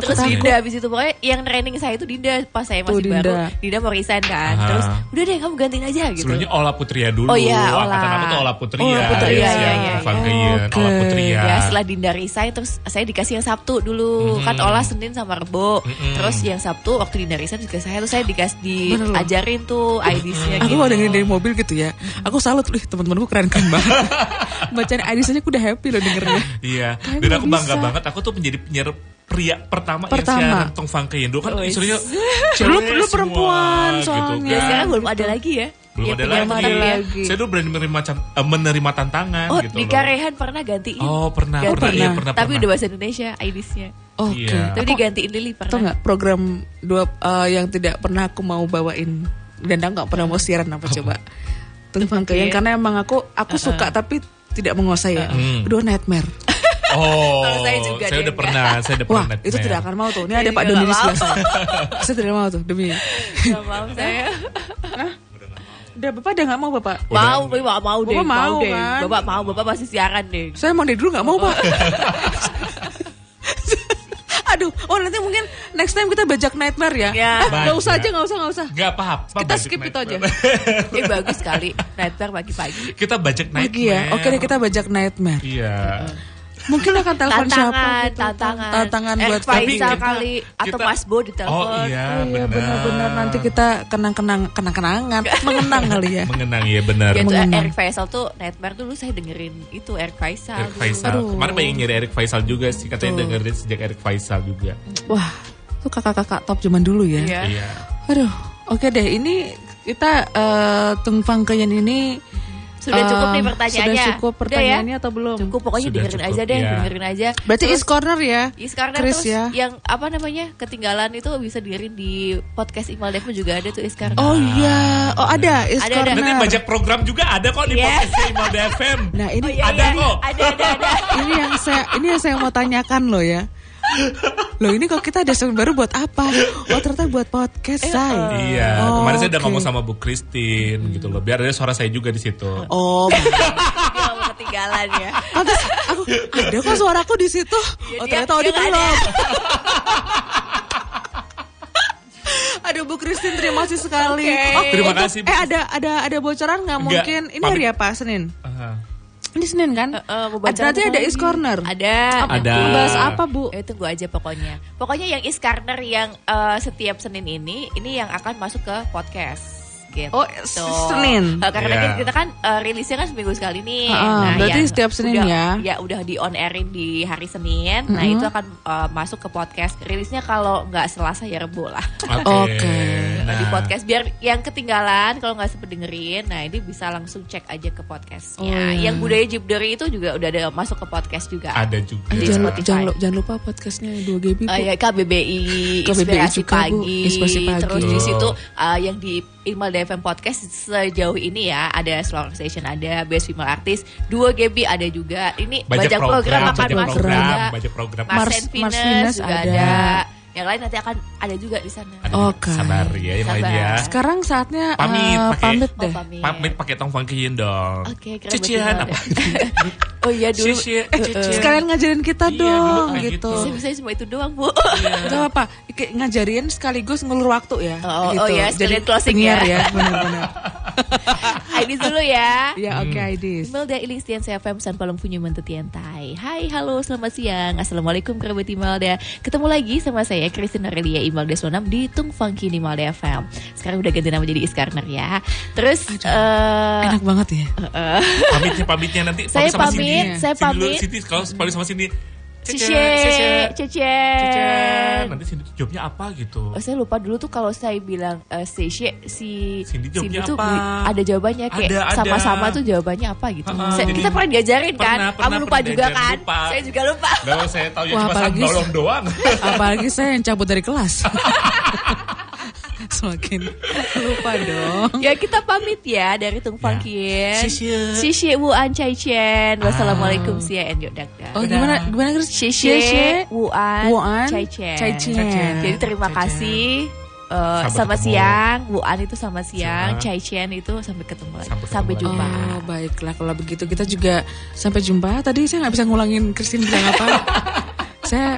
[SPEAKER 1] Aku
[SPEAKER 3] Terus
[SPEAKER 1] takut.
[SPEAKER 3] Dinda abis itu pokoknya yang training saya itu Dinda pas saya
[SPEAKER 1] Tuh,
[SPEAKER 3] masih baru
[SPEAKER 1] Dinda.
[SPEAKER 3] Dinda mau resign
[SPEAKER 2] Oh,
[SPEAKER 3] kan
[SPEAKER 2] Aha.
[SPEAKER 3] terus udah deh kamu gantiin aja gitu
[SPEAKER 2] Sebelumnya Ola Putria dulu.
[SPEAKER 3] Oh iya, Ola.
[SPEAKER 2] Angkatan aku tuh Ola Putria.
[SPEAKER 1] Ola Putria,
[SPEAKER 2] ya,
[SPEAKER 1] iya,
[SPEAKER 2] siang,
[SPEAKER 1] iya,
[SPEAKER 2] Tung Fangkeyan,
[SPEAKER 1] iya.
[SPEAKER 2] Ola
[SPEAKER 1] Oke.
[SPEAKER 2] Putria.
[SPEAKER 3] Ya setelah Dinda resign terus saya dikasih yang Sabtu dulu
[SPEAKER 2] Mm-mm.
[SPEAKER 3] kan olah Senin sama Rebo
[SPEAKER 2] Mm-mm.
[SPEAKER 3] terus yang Sabtu waktu Dinda resign juga saya tuh saya dikasih
[SPEAKER 1] Bener loh.
[SPEAKER 3] diajarin tuh IDs-nya
[SPEAKER 1] Aku
[SPEAKER 3] gitu.
[SPEAKER 1] kalau dengerin dari mobil gitu ya, aku salut loh teman-temanku keren-keren banget. Bacaan Adis aja aku udah happy loh dengernya.
[SPEAKER 2] Iya.
[SPEAKER 1] Kayaknya
[SPEAKER 2] Dan
[SPEAKER 1] nggak
[SPEAKER 2] aku bangga
[SPEAKER 1] bisa.
[SPEAKER 2] banget. Aku tuh menjadi penyiar pria pertama,
[SPEAKER 1] Pertama.
[SPEAKER 2] yang siaran Tung Fangkeyan. Dulu kan
[SPEAKER 3] Oh,
[SPEAKER 2] isunya
[SPEAKER 1] Dulu-
[SPEAKER 2] cewek
[SPEAKER 1] dulu
[SPEAKER 2] semua,
[SPEAKER 1] perempuan soalnya.
[SPEAKER 2] Gitu,
[SPEAKER 3] Ya
[SPEAKER 2] kan.
[SPEAKER 3] sekarang belum ada lagi ya.
[SPEAKER 2] belum ada
[SPEAKER 3] Ya, punya
[SPEAKER 2] lagi.
[SPEAKER 1] belum
[SPEAKER 3] mantan
[SPEAKER 1] ada
[SPEAKER 3] ya.
[SPEAKER 1] lagi.
[SPEAKER 2] Saya dulu berani menerima, can- eh, menerima tantangan
[SPEAKER 3] Oh,
[SPEAKER 2] gitu
[SPEAKER 3] di
[SPEAKER 2] loh.
[SPEAKER 3] Karehan pernah gantiin.
[SPEAKER 2] Oh pernah,
[SPEAKER 3] Gantiin.
[SPEAKER 2] pernah, iya, pernah,
[SPEAKER 3] Tapi
[SPEAKER 2] pernah.
[SPEAKER 3] udah bahasa Indonesia IDs-nya.
[SPEAKER 1] Oke.
[SPEAKER 2] Iya.
[SPEAKER 3] Tapi digantiin Lili
[SPEAKER 1] Tau
[SPEAKER 3] pernah.
[SPEAKER 1] nggak program dua eh, yang tidak pernah aku mau bawain dan aku nggak pernah mau siaran apa coba Tung Fangkeyan
[SPEAKER 3] Fangkeyan.
[SPEAKER 1] karena emang aku aku suka tapi tidak menguasai ya.
[SPEAKER 2] Uh-uh.
[SPEAKER 1] Kedua nightmare.
[SPEAKER 2] Oh,
[SPEAKER 3] Kalau saya juga
[SPEAKER 2] saya udah
[SPEAKER 3] dia enggak.
[SPEAKER 2] pernah, saya udah
[SPEAKER 1] Wah
[SPEAKER 2] pernah.
[SPEAKER 1] itu
[SPEAKER 2] Mel.
[SPEAKER 1] tidak akan mau tuh. Ini ada
[SPEAKER 3] Jadi
[SPEAKER 1] Pak
[SPEAKER 3] nggak
[SPEAKER 1] Doni di
[SPEAKER 3] mau.
[SPEAKER 1] sebelah saya. saya tidak mau tuh demi.
[SPEAKER 3] Gak mau saya.
[SPEAKER 1] Udah bapak udah nggak mau bapak.
[SPEAKER 3] Mau, bapak mau deh.
[SPEAKER 1] Bapak mau,
[SPEAKER 3] deh.
[SPEAKER 1] kan?
[SPEAKER 3] Bapak mau, bapak pasti siaran deh.
[SPEAKER 1] Saya emang dari dulu nggak mau pak. Aduh, oh nanti mungkin next time kita bajak nightmare ya.
[SPEAKER 3] Ya.
[SPEAKER 1] Eh, nggak usah aja,
[SPEAKER 2] Bajak.
[SPEAKER 1] nggak usah, nggak usah.
[SPEAKER 2] Gak apa-apa.
[SPEAKER 1] Kita
[SPEAKER 2] budget
[SPEAKER 1] skip itu
[SPEAKER 2] nightmare.
[SPEAKER 1] aja.
[SPEAKER 3] Eh bagus sekali. Nightmare pagi-pagi.
[SPEAKER 2] kita budget nightmare.
[SPEAKER 1] Lagi ya, oke deh kita bajak nightmare.
[SPEAKER 2] Iya.
[SPEAKER 1] Mungkin akan telepon siapa
[SPEAKER 3] Tantangan,
[SPEAKER 1] gitu.
[SPEAKER 3] tantangan.
[SPEAKER 1] Tantangan
[SPEAKER 3] Eh,
[SPEAKER 1] buat
[SPEAKER 3] Faisal
[SPEAKER 1] kami.
[SPEAKER 2] kita-
[SPEAKER 3] kali atau
[SPEAKER 2] kita-
[SPEAKER 3] Mas Bo ditelepon.
[SPEAKER 2] Oh iya,
[SPEAKER 1] Oh iya
[SPEAKER 2] benar.
[SPEAKER 1] benar-benar nanti kita kenang-kenang kenang-kenangan mengenang kali ya.
[SPEAKER 2] mengenang ya benar.
[SPEAKER 3] Itu
[SPEAKER 1] Mengenang.
[SPEAKER 3] eh, Eric Faisal tuh Nightmare dulu saya dengerin itu Eric
[SPEAKER 2] Eric
[SPEAKER 3] Faisal. dulu.
[SPEAKER 2] Faisal.
[SPEAKER 1] Aduh.
[SPEAKER 2] Kemarin pengen nyari Eric Faisal juga sih katanya dengerin sejak Eric Faisal juga.
[SPEAKER 1] Wah, itu kakak-kakak top zaman dulu ya.
[SPEAKER 3] Iya.
[SPEAKER 2] Iya.
[SPEAKER 1] Aduh, oke deh ini kita eh Tung Fangkeyan ini
[SPEAKER 3] Sudah cukup
[SPEAKER 1] eh,
[SPEAKER 3] nih pertanyaannya.
[SPEAKER 1] Sudah cukup
[SPEAKER 3] Udah ya?
[SPEAKER 1] pertanyaannya atau belum?
[SPEAKER 3] Cukup pokoknya
[SPEAKER 2] Sudah
[SPEAKER 3] dengerin
[SPEAKER 2] cukup,
[SPEAKER 3] aja deh,
[SPEAKER 2] ya.
[SPEAKER 3] dengerin aja.
[SPEAKER 1] Berarti is corner ya.
[SPEAKER 3] Yes, karena
[SPEAKER 1] Chris
[SPEAKER 3] terus Iya.
[SPEAKER 1] ya.
[SPEAKER 3] yang apa namanya ketinggalan itu bisa dengerin di podcast Imal Dev juga ada tuh Iskar.
[SPEAKER 1] Oh iya, oh ada is
[SPEAKER 3] Ada, ada.
[SPEAKER 1] corner.
[SPEAKER 2] Nanti bajak program juga ada kok di
[SPEAKER 3] Iya.
[SPEAKER 2] podcast Imal FM.
[SPEAKER 1] Nah, ini
[SPEAKER 3] iya,
[SPEAKER 2] ada
[SPEAKER 3] iya.
[SPEAKER 2] kok.
[SPEAKER 3] Ada ada ada.
[SPEAKER 1] ini yang saya ini yang saya mau tanyakan loh ya. Loh ini kok kita ada segmen baru buat apa? Oh ternyata buat podcast saya.
[SPEAKER 2] Iya,
[SPEAKER 1] Oh,
[SPEAKER 2] kemarin saya udah
[SPEAKER 1] oke.
[SPEAKER 2] ngomong sama Bu Christine gitu loh. Biar ada suara saya juga di situ.
[SPEAKER 1] Oh,
[SPEAKER 3] Dia mau ketinggalan ya.
[SPEAKER 1] pantas aku ada kok suaraku di situ.
[SPEAKER 3] Ya,
[SPEAKER 1] Oh
[SPEAKER 3] dia-
[SPEAKER 1] ternyata Odi
[SPEAKER 3] dia nggak ada.
[SPEAKER 1] belum. Aduh Bu Christine terima kasih sekali.
[SPEAKER 3] Oke.
[SPEAKER 2] Ah, Terima
[SPEAKER 1] untuk-
[SPEAKER 2] kasih, Bu
[SPEAKER 1] Eh ada ada ada bocoran nggak
[SPEAKER 2] Nggak,
[SPEAKER 1] mungkin? Ini hari
[SPEAKER 2] pamit.
[SPEAKER 1] apa Senin?
[SPEAKER 2] Aha.
[SPEAKER 1] Ini Senin kan?
[SPEAKER 3] Eh, mau baca
[SPEAKER 1] Nanti
[SPEAKER 3] apa
[SPEAKER 1] ada
[SPEAKER 3] lagi?
[SPEAKER 1] is corner.
[SPEAKER 3] Ada.
[SPEAKER 2] Ada.
[SPEAKER 1] Bahas apa Bu?
[SPEAKER 3] Eh, tunggu aja pokoknya. Pokoknya yang is corner yang eh, setiap Senin ini ini yang akan masuk ke podcast. Gitu.
[SPEAKER 1] Oh, S- Senin.
[SPEAKER 3] Eh, karena
[SPEAKER 2] Iya.
[SPEAKER 3] kan kita kan eh, rilisnya kan seminggu sekali nih. Nah,
[SPEAKER 1] Ah, berarti
[SPEAKER 3] yang
[SPEAKER 1] setiap Senin
[SPEAKER 3] udah-
[SPEAKER 1] ya?
[SPEAKER 3] Ya udah di on airin di hari Senin. Nah itu akan eh, masuk ke podcast. Rilisnya kalau nggak Selasa ya Rebo lah.
[SPEAKER 2] Oke.
[SPEAKER 1] Oke.
[SPEAKER 2] Nah,
[SPEAKER 3] di podcast biar yang ketinggalan kalau nggak sempet dengerin nah ini bisa langsung cek aja ke podcastnya
[SPEAKER 1] Oh, iya.
[SPEAKER 3] yang budaya Jibdori itu juga udah ada masuk ke podcast juga
[SPEAKER 2] ada juga.
[SPEAKER 1] Eh,
[SPEAKER 3] Di
[SPEAKER 1] jangan,
[SPEAKER 3] Spotify.
[SPEAKER 1] jangan, lu- jangan lupa podcastnya 2GB Bu.
[SPEAKER 3] Eh, ya, KBBI,
[SPEAKER 1] KBBI
[SPEAKER 3] inspirasi,
[SPEAKER 1] juga, Bu.
[SPEAKER 3] pagi,
[SPEAKER 1] Inspirasi Pagi.
[SPEAKER 3] terus di
[SPEAKER 2] Betul.
[SPEAKER 3] situ eh, yang di Imal DFM Podcast sejauh ini ya ada Slow Station ada Best Female Artist, 2 GB ada juga ini
[SPEAKER 2] Banyak
[SPEAKER 3] banyak, program,
[SPEAKER 2] program,
[SPEAKER 3] akan
[SPEAKER 2] banyak
[SPEAKER 3] masuk
[SPEAKER 2] program,
[SPEAKER 3] juga.
[SPEAKER 2] banyak program.
[SPEAKER 3] Mars,
[SPEAKER 1] Mars-
[SPEAKER 3] and
[SPEAKER 1] Mars
[SPEAKER 3] Venus
[SPEAKER 1] Venus
[SPEAKER 3] juga
[SPEAKER 1] ada.
[SPEAKER 3] ada. yang lain nanti akan ada juga di sana
[SPEAKER 2] Ada.
[SPEAKER 1] Oke.
[SPEAKER 2] Sabar ya, yang lain
[SPEAKER 3] Sabar.
[SPEAKER 2] ya.
[SPEAKER 1] Sekarang saatnya eh,
[SPEAKER 2] Pamit, ya. pakai-
[SPEAKER 1] pamit
[SPEAKER 3] Oh,
[SPEAKER 1] deh.
[SPEAKER 3] pamit.
[SPEAKER 2] Pamit pakai tong fangkiin dong.
[SPEAKER 3] Oke, keren
[SPEAKER 2] Cician
[SPEAKER 3] banget.
[SPEAKER 2] apa?
[SPEAKER 3] oh iya dulu
[SPEAKER 2] Cician, cician.
[SPEAKER 1] Eh, Sekalian ngajarin kita
[SPEAKER 2] Iya,
[SPEAKER 1] dong
[SPEAKER 2] dulu kayak
[SPEAKER 1] gitu.
[SPEAKER 2] gitu. Iya.
[SPEAKER 3] Saya bisa cuma itu doang, Bu.
[SPEAKER 1] Gak apa-apa, Kayak ngajarin sekaligus ngulur waktu ya.
[SPEAKER 3] Oh,
[SPEAKER 1] gitu.
[SPEAKER 3] oh ya, sekalian closing
[SPEAKER 1] penyiar
[SPEAKER 3] ya.
[SPEAKER 1] ya. benar-benar.
[SPEAKER 3] Ini dulu ya.
[SPEAKER 1] Ya
[SPEAKER 2] Hmm.
[SPEAKER 1] oke Aidis.
[SPEAKER 3] Imelda Ilistiansa FM San Palem Punyu Mentetiantai Hai halo selamat siang Assalamualaikum kerabat Imelda Ketemu lagi sama saya Christine Aurelia Imelda Sonam di Tung Funky di Imelda FM Sekarang udah ganti nama jadi Iskarner ya Terus eh,
[SPEAKER 1] Enak banget ya.
[SPEAKER 2] Pamitnya Ya, pamitnya nanti
[SPEAKER 3] Saya
[SPEAKER 2] pamit sama Cindy.
[SPEAKER 3] pamit, saya
[SPEAKER 2] Cindy dulu,
[SPEAKER 3] pamit.
[SPEAKER 2] Cindy kalau pamit sama Cindy. Cece,
[SPEAKER 3] Cece
[SPEAKER 2] Cece,
[SPEAKER 3] Cece
[SPEAKER 2] Cece. Nanti Cindy tuh jawabnya apa gitu.
[SPEAKER 3] Oh, saya lupa dulu tuh kalau saya bilang eh, Cece si
[SPEAKER 2] Cindy jawabnya
[SPEAKER 3] tuh
[SPEAKER 2] apa?
[SPEAKER 3] bu- ada jawabannya kayak
[SPEAKER 2] Ada, ada.
[SPEAKER 3] sama-sama tuh jawabannya apa gitu.
[SPEAKER 2] Ah,
[SPEAKER 3] Saya-
[SPEAKER 2] jadi-
[SPEAKER 3] kita pernah diajarin kan?
[SPEAKER 2] Pernah,
[SPEAKER 3] Kamu
[SPEAKER 2] pernah,
[SPEAKER 3] lupa
[SPEAKER 2] pernah
[SPEAKER 3] juga
[SPEAKER 2] diajarin,
[SPEAKER 3] kan?
[SPEAKER 2] lupa.
[SPEAKER 3] Saya juga lupa.
[SPEAKER 2] Lalu saya tahu ya
[SPEAKER 1] Wah,
[SPEAKER 2] cuma
[SPEAKER 1] apalagi-
[SPEAKER 2] sandolong doang.
[SPEAKER 1] Apalagi saya yang cabut dari kelas. Semakin lupa dong.
[SPEAKER 3] Ya kita pamit ya dari
[SPEAKER 2] Ya.
[SPEAKER 3] Tung
[SPEAKER 2] Ah.
[SPEAKER 3] Fangkien.
[SPEAKER 2] Sisye.
[SPEAKER 3] Sisye Wu An Chai Chen. Wassalamualaikum Sia and Yok Dak
[SPEAKER 2] iya.
[SPEAKER 3] Dak.
[SPEAKER 1] Oh gimana gimana Chris?
[SPEAKER 3] Sisye Wu An,
[SPEAKER 1] Wu An
[SPEAKER 3] Chai Chen.
[SPEAKER 1] Chai Chen.
[SPEAKER 3] Jadi terima
[SPEAKER 2] Chai Chen.
[SPEAKER 3] kasih eh,
[SPEAKER 2] Sampai
[SPEAKER 3] sama
[SPEAKER 2] ketemu.
[SPEAKER 3] siang, Wu An itu sama siang,
[SPEAKER 2] Siang.
[SPEAKER 3] Chai Chen itu sampai ketemu lagi.
[SPEAKER 2] Sampai
[SPEAKER 3] Sampai,
[SPEAKER 2] ketemu lagi.
[SPEAKER 3] jumpa.
[SPEAKER 1] Oh baiklah kalau begitu kita juga sampai jumpa. Tadi saya nggak bisa ngulangin Christine bilang apa. saya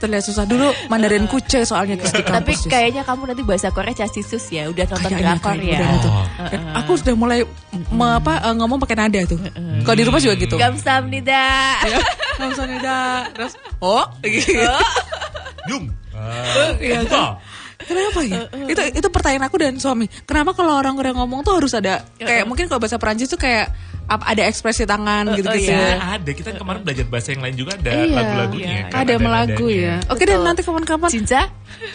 [SPEAKER 1] terlihat susah dulu Mandarin kuce soalnya Chris di
[SPEAKER 3] Eh, Tapi
[SPEAKER 1] kampus. Jis.
[SPEAKER 3] kayaknya kamu nanti bahasa Korea casisus ya, udah nonton
[SPEAKER 1] Kayaknya,
[SPEAKER 3] drakor
[SPEAKER 1] kayaknya
[SPEAKER 3] ya.
[SPEAKER 1] udah nonton.
[SPEAKER 2] Oh.
[SPEAKER 1] Kan
[SPEAKER 3] eh.
[SPEAKER 1] Aku sudah mulai me-
[SPEAKER 3] Hmm.
[SPEAKER 1] apa eh, ngomong pakai nada tuh. Kalau di rumah juga gitu.
[SPEAKER 3] Gamsahamnida.
[SPEAKER 1] Ya, Kamsahamnida. Terus oh gitu.
[SPEAKER 2] Jung.
[SPEAKER 3] Oh,
[SPEAKER 1] Iya,
[SPEAKER 2] Wah.
[SPEAKER 1] Kenapa
[SPEAKER 3] Eh,
[SPEAKER 1] ya? Itu itu pertanyaan aku dan suami. Kenapa kalau orang Korea ngomong tuh harus ada
[SPEAKER 3] Eh,
[SPEAKER 1] kayak mungkin kalau bahasa Perancis tuh kayak ap- ada ekspresi
[SPEAKER 3] Eh,
[SPEAKER 1] tangan
[SPEAKER 3] oh,
[SPEAKER 1] gitu-gitu.
[SPEAKER 2] Nah,
[SPEAKER 1] ya.
[SPEAKER 2] ada kita kemarin belajar bahasa yang lain juga ada
[SPEAKER 1] Iya.
[SPEAKER 2] lagu-lagunya
[SPEAKER 3] Iya,
[SPEAKER 2] kan,
[SPEAKER 1] Ada melagu ya.
[SPEAKER 2] nadanya.
[SPEAKER 1] Oke dan
[SPEAKER 3] Betul.
[SPEAKER 1] nanti kapan-kapan Oh,
[SPEAKER 3] Cinca?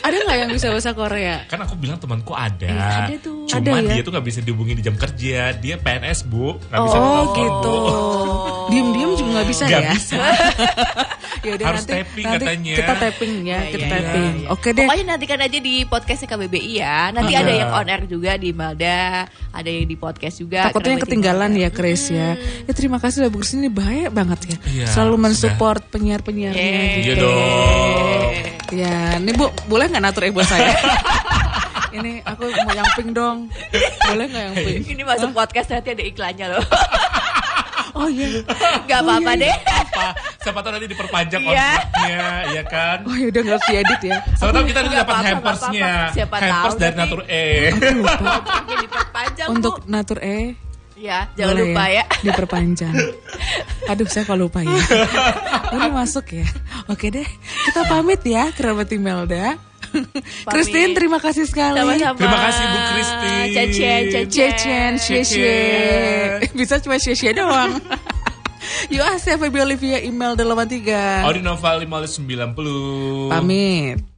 [SPEAKER 1] ada nggak yang bisa bahasa Korea?
[SPEAKER 2] kan aku bilang temanku ada,
[SPEAKER 3] Iya, ada tuh.
[SPEAKER 2] cuma
[SPEAKER 1] Ada ya?
[SPEAKER 2] dia tuh nggak bisa dihubungi di jam kerja dia PNS bu nggak bisa
[SPEAKER 1] Oh
[SPEAKER 2] ditelepon, Bu.
[SPEAKER 1] gitu. Diem-diem juga nggak bisa
[SPEAKER 2] Nggak
[SPEAKER 1] ya.
[SPEAKER 2] bisa.
[SPEAKER 1] Yaudah,
[SPEAKER 2] Harus tapping katanya.
[SPEAKER 1] Kita tapping ya,
[SPEAKER 3] Iya,
[SPEAKER 1] kita
[SPEAKER 3] iya,
[SPEAKER 1] tapping.
[SPEAKER 3] iya.
[SPEAKER 1] Oke deh.
[SPEAKER 3] Pokoknya nantikan aja di podcastnya KBBI ya. Nanti
[SPEAKER 2] Iya.
[SPEAKER 3] ada yang on air juga di Malda, ada yang di podcast juga.
[SPEAKER 1] Takutnya yang
[SPEAKER 3] Kerabat
[SPEAKER 1] ketinggalan
[SPEAKER 3] Imelda.
[SPEAKER 1] ya Chris ya. Ya terima kasih udah bagus ini bahaya banget ya.
[SPEAKER 2] Iya,
[SPEAKER 1] Selalu mensupport penyiar-penyiarnya
[SPEAKER 3] Yeay.
[SPEAKER 1] gitu.
[SPEAKER 2] Iya dong.
[SPEAKER 1] Ya, ini Bu, boleh nggak natur ego saya? ini aku mau yang pink dong. Boleh nggak yang pink?
[SPEAKER 3] Ini masuk podcast nanti ada iklannya loh.
[SPEAKER 1] Oh iya.
[SPEAKER 3] Gak apa-apa deh.
[SPEAKER 2] apa siapa tahu nanti diperpanjang
[SPEAKER 3] Iya.
[SPEAKER 2] kontraknya ya kan
[SPEAKER 1] Oh ya udah nggak harus diedit ya.
[SPEAKER 2] siapa tahu kita nanti
[SPEAKER 3] Nggak
[SPEAKER 2] dapat
[SPEAKER 3] apa-apa,
[SPEAKER 2] hampersnya
[SPEAKER 3] nggak apa-apa. Siapa
[SPEAKER 2] hampers
[SPEAKER 3] tahu
[SPEAKER 2] dari
[SPEAKER 3] nanti.
[SPEAKER 2] Natur E
[SPEAKER 3] Ini diperpanjang Bu.
[SPEAKER 1] Untuk natur E
[SPEAKER 3] Ya, jangan
[SPEAKER 1] boleh
[SPEAKER 3] lupa ya.
[SPEAKER 1] Diperpanjang. Aduh, saya kok lupa ya. Ini masuk ya. Oke deh, kita pamit ya kerabat Imelda. Christine terima kasih sekali.
[SPEAKER 3] Sama-sama.
[SPEAKER 2] Terima kasih, Bu Kristi.
[SPEAKER 3] Cacen, cacen.
[SPEAKER 1] Cecen, Cecen. Bisa cuma Cecen doang. Yuk, ah, saya Feby Olivia, email 83.
[SPEAKER 2] Audi Nova 590
[SPEAKER 1] Pamit.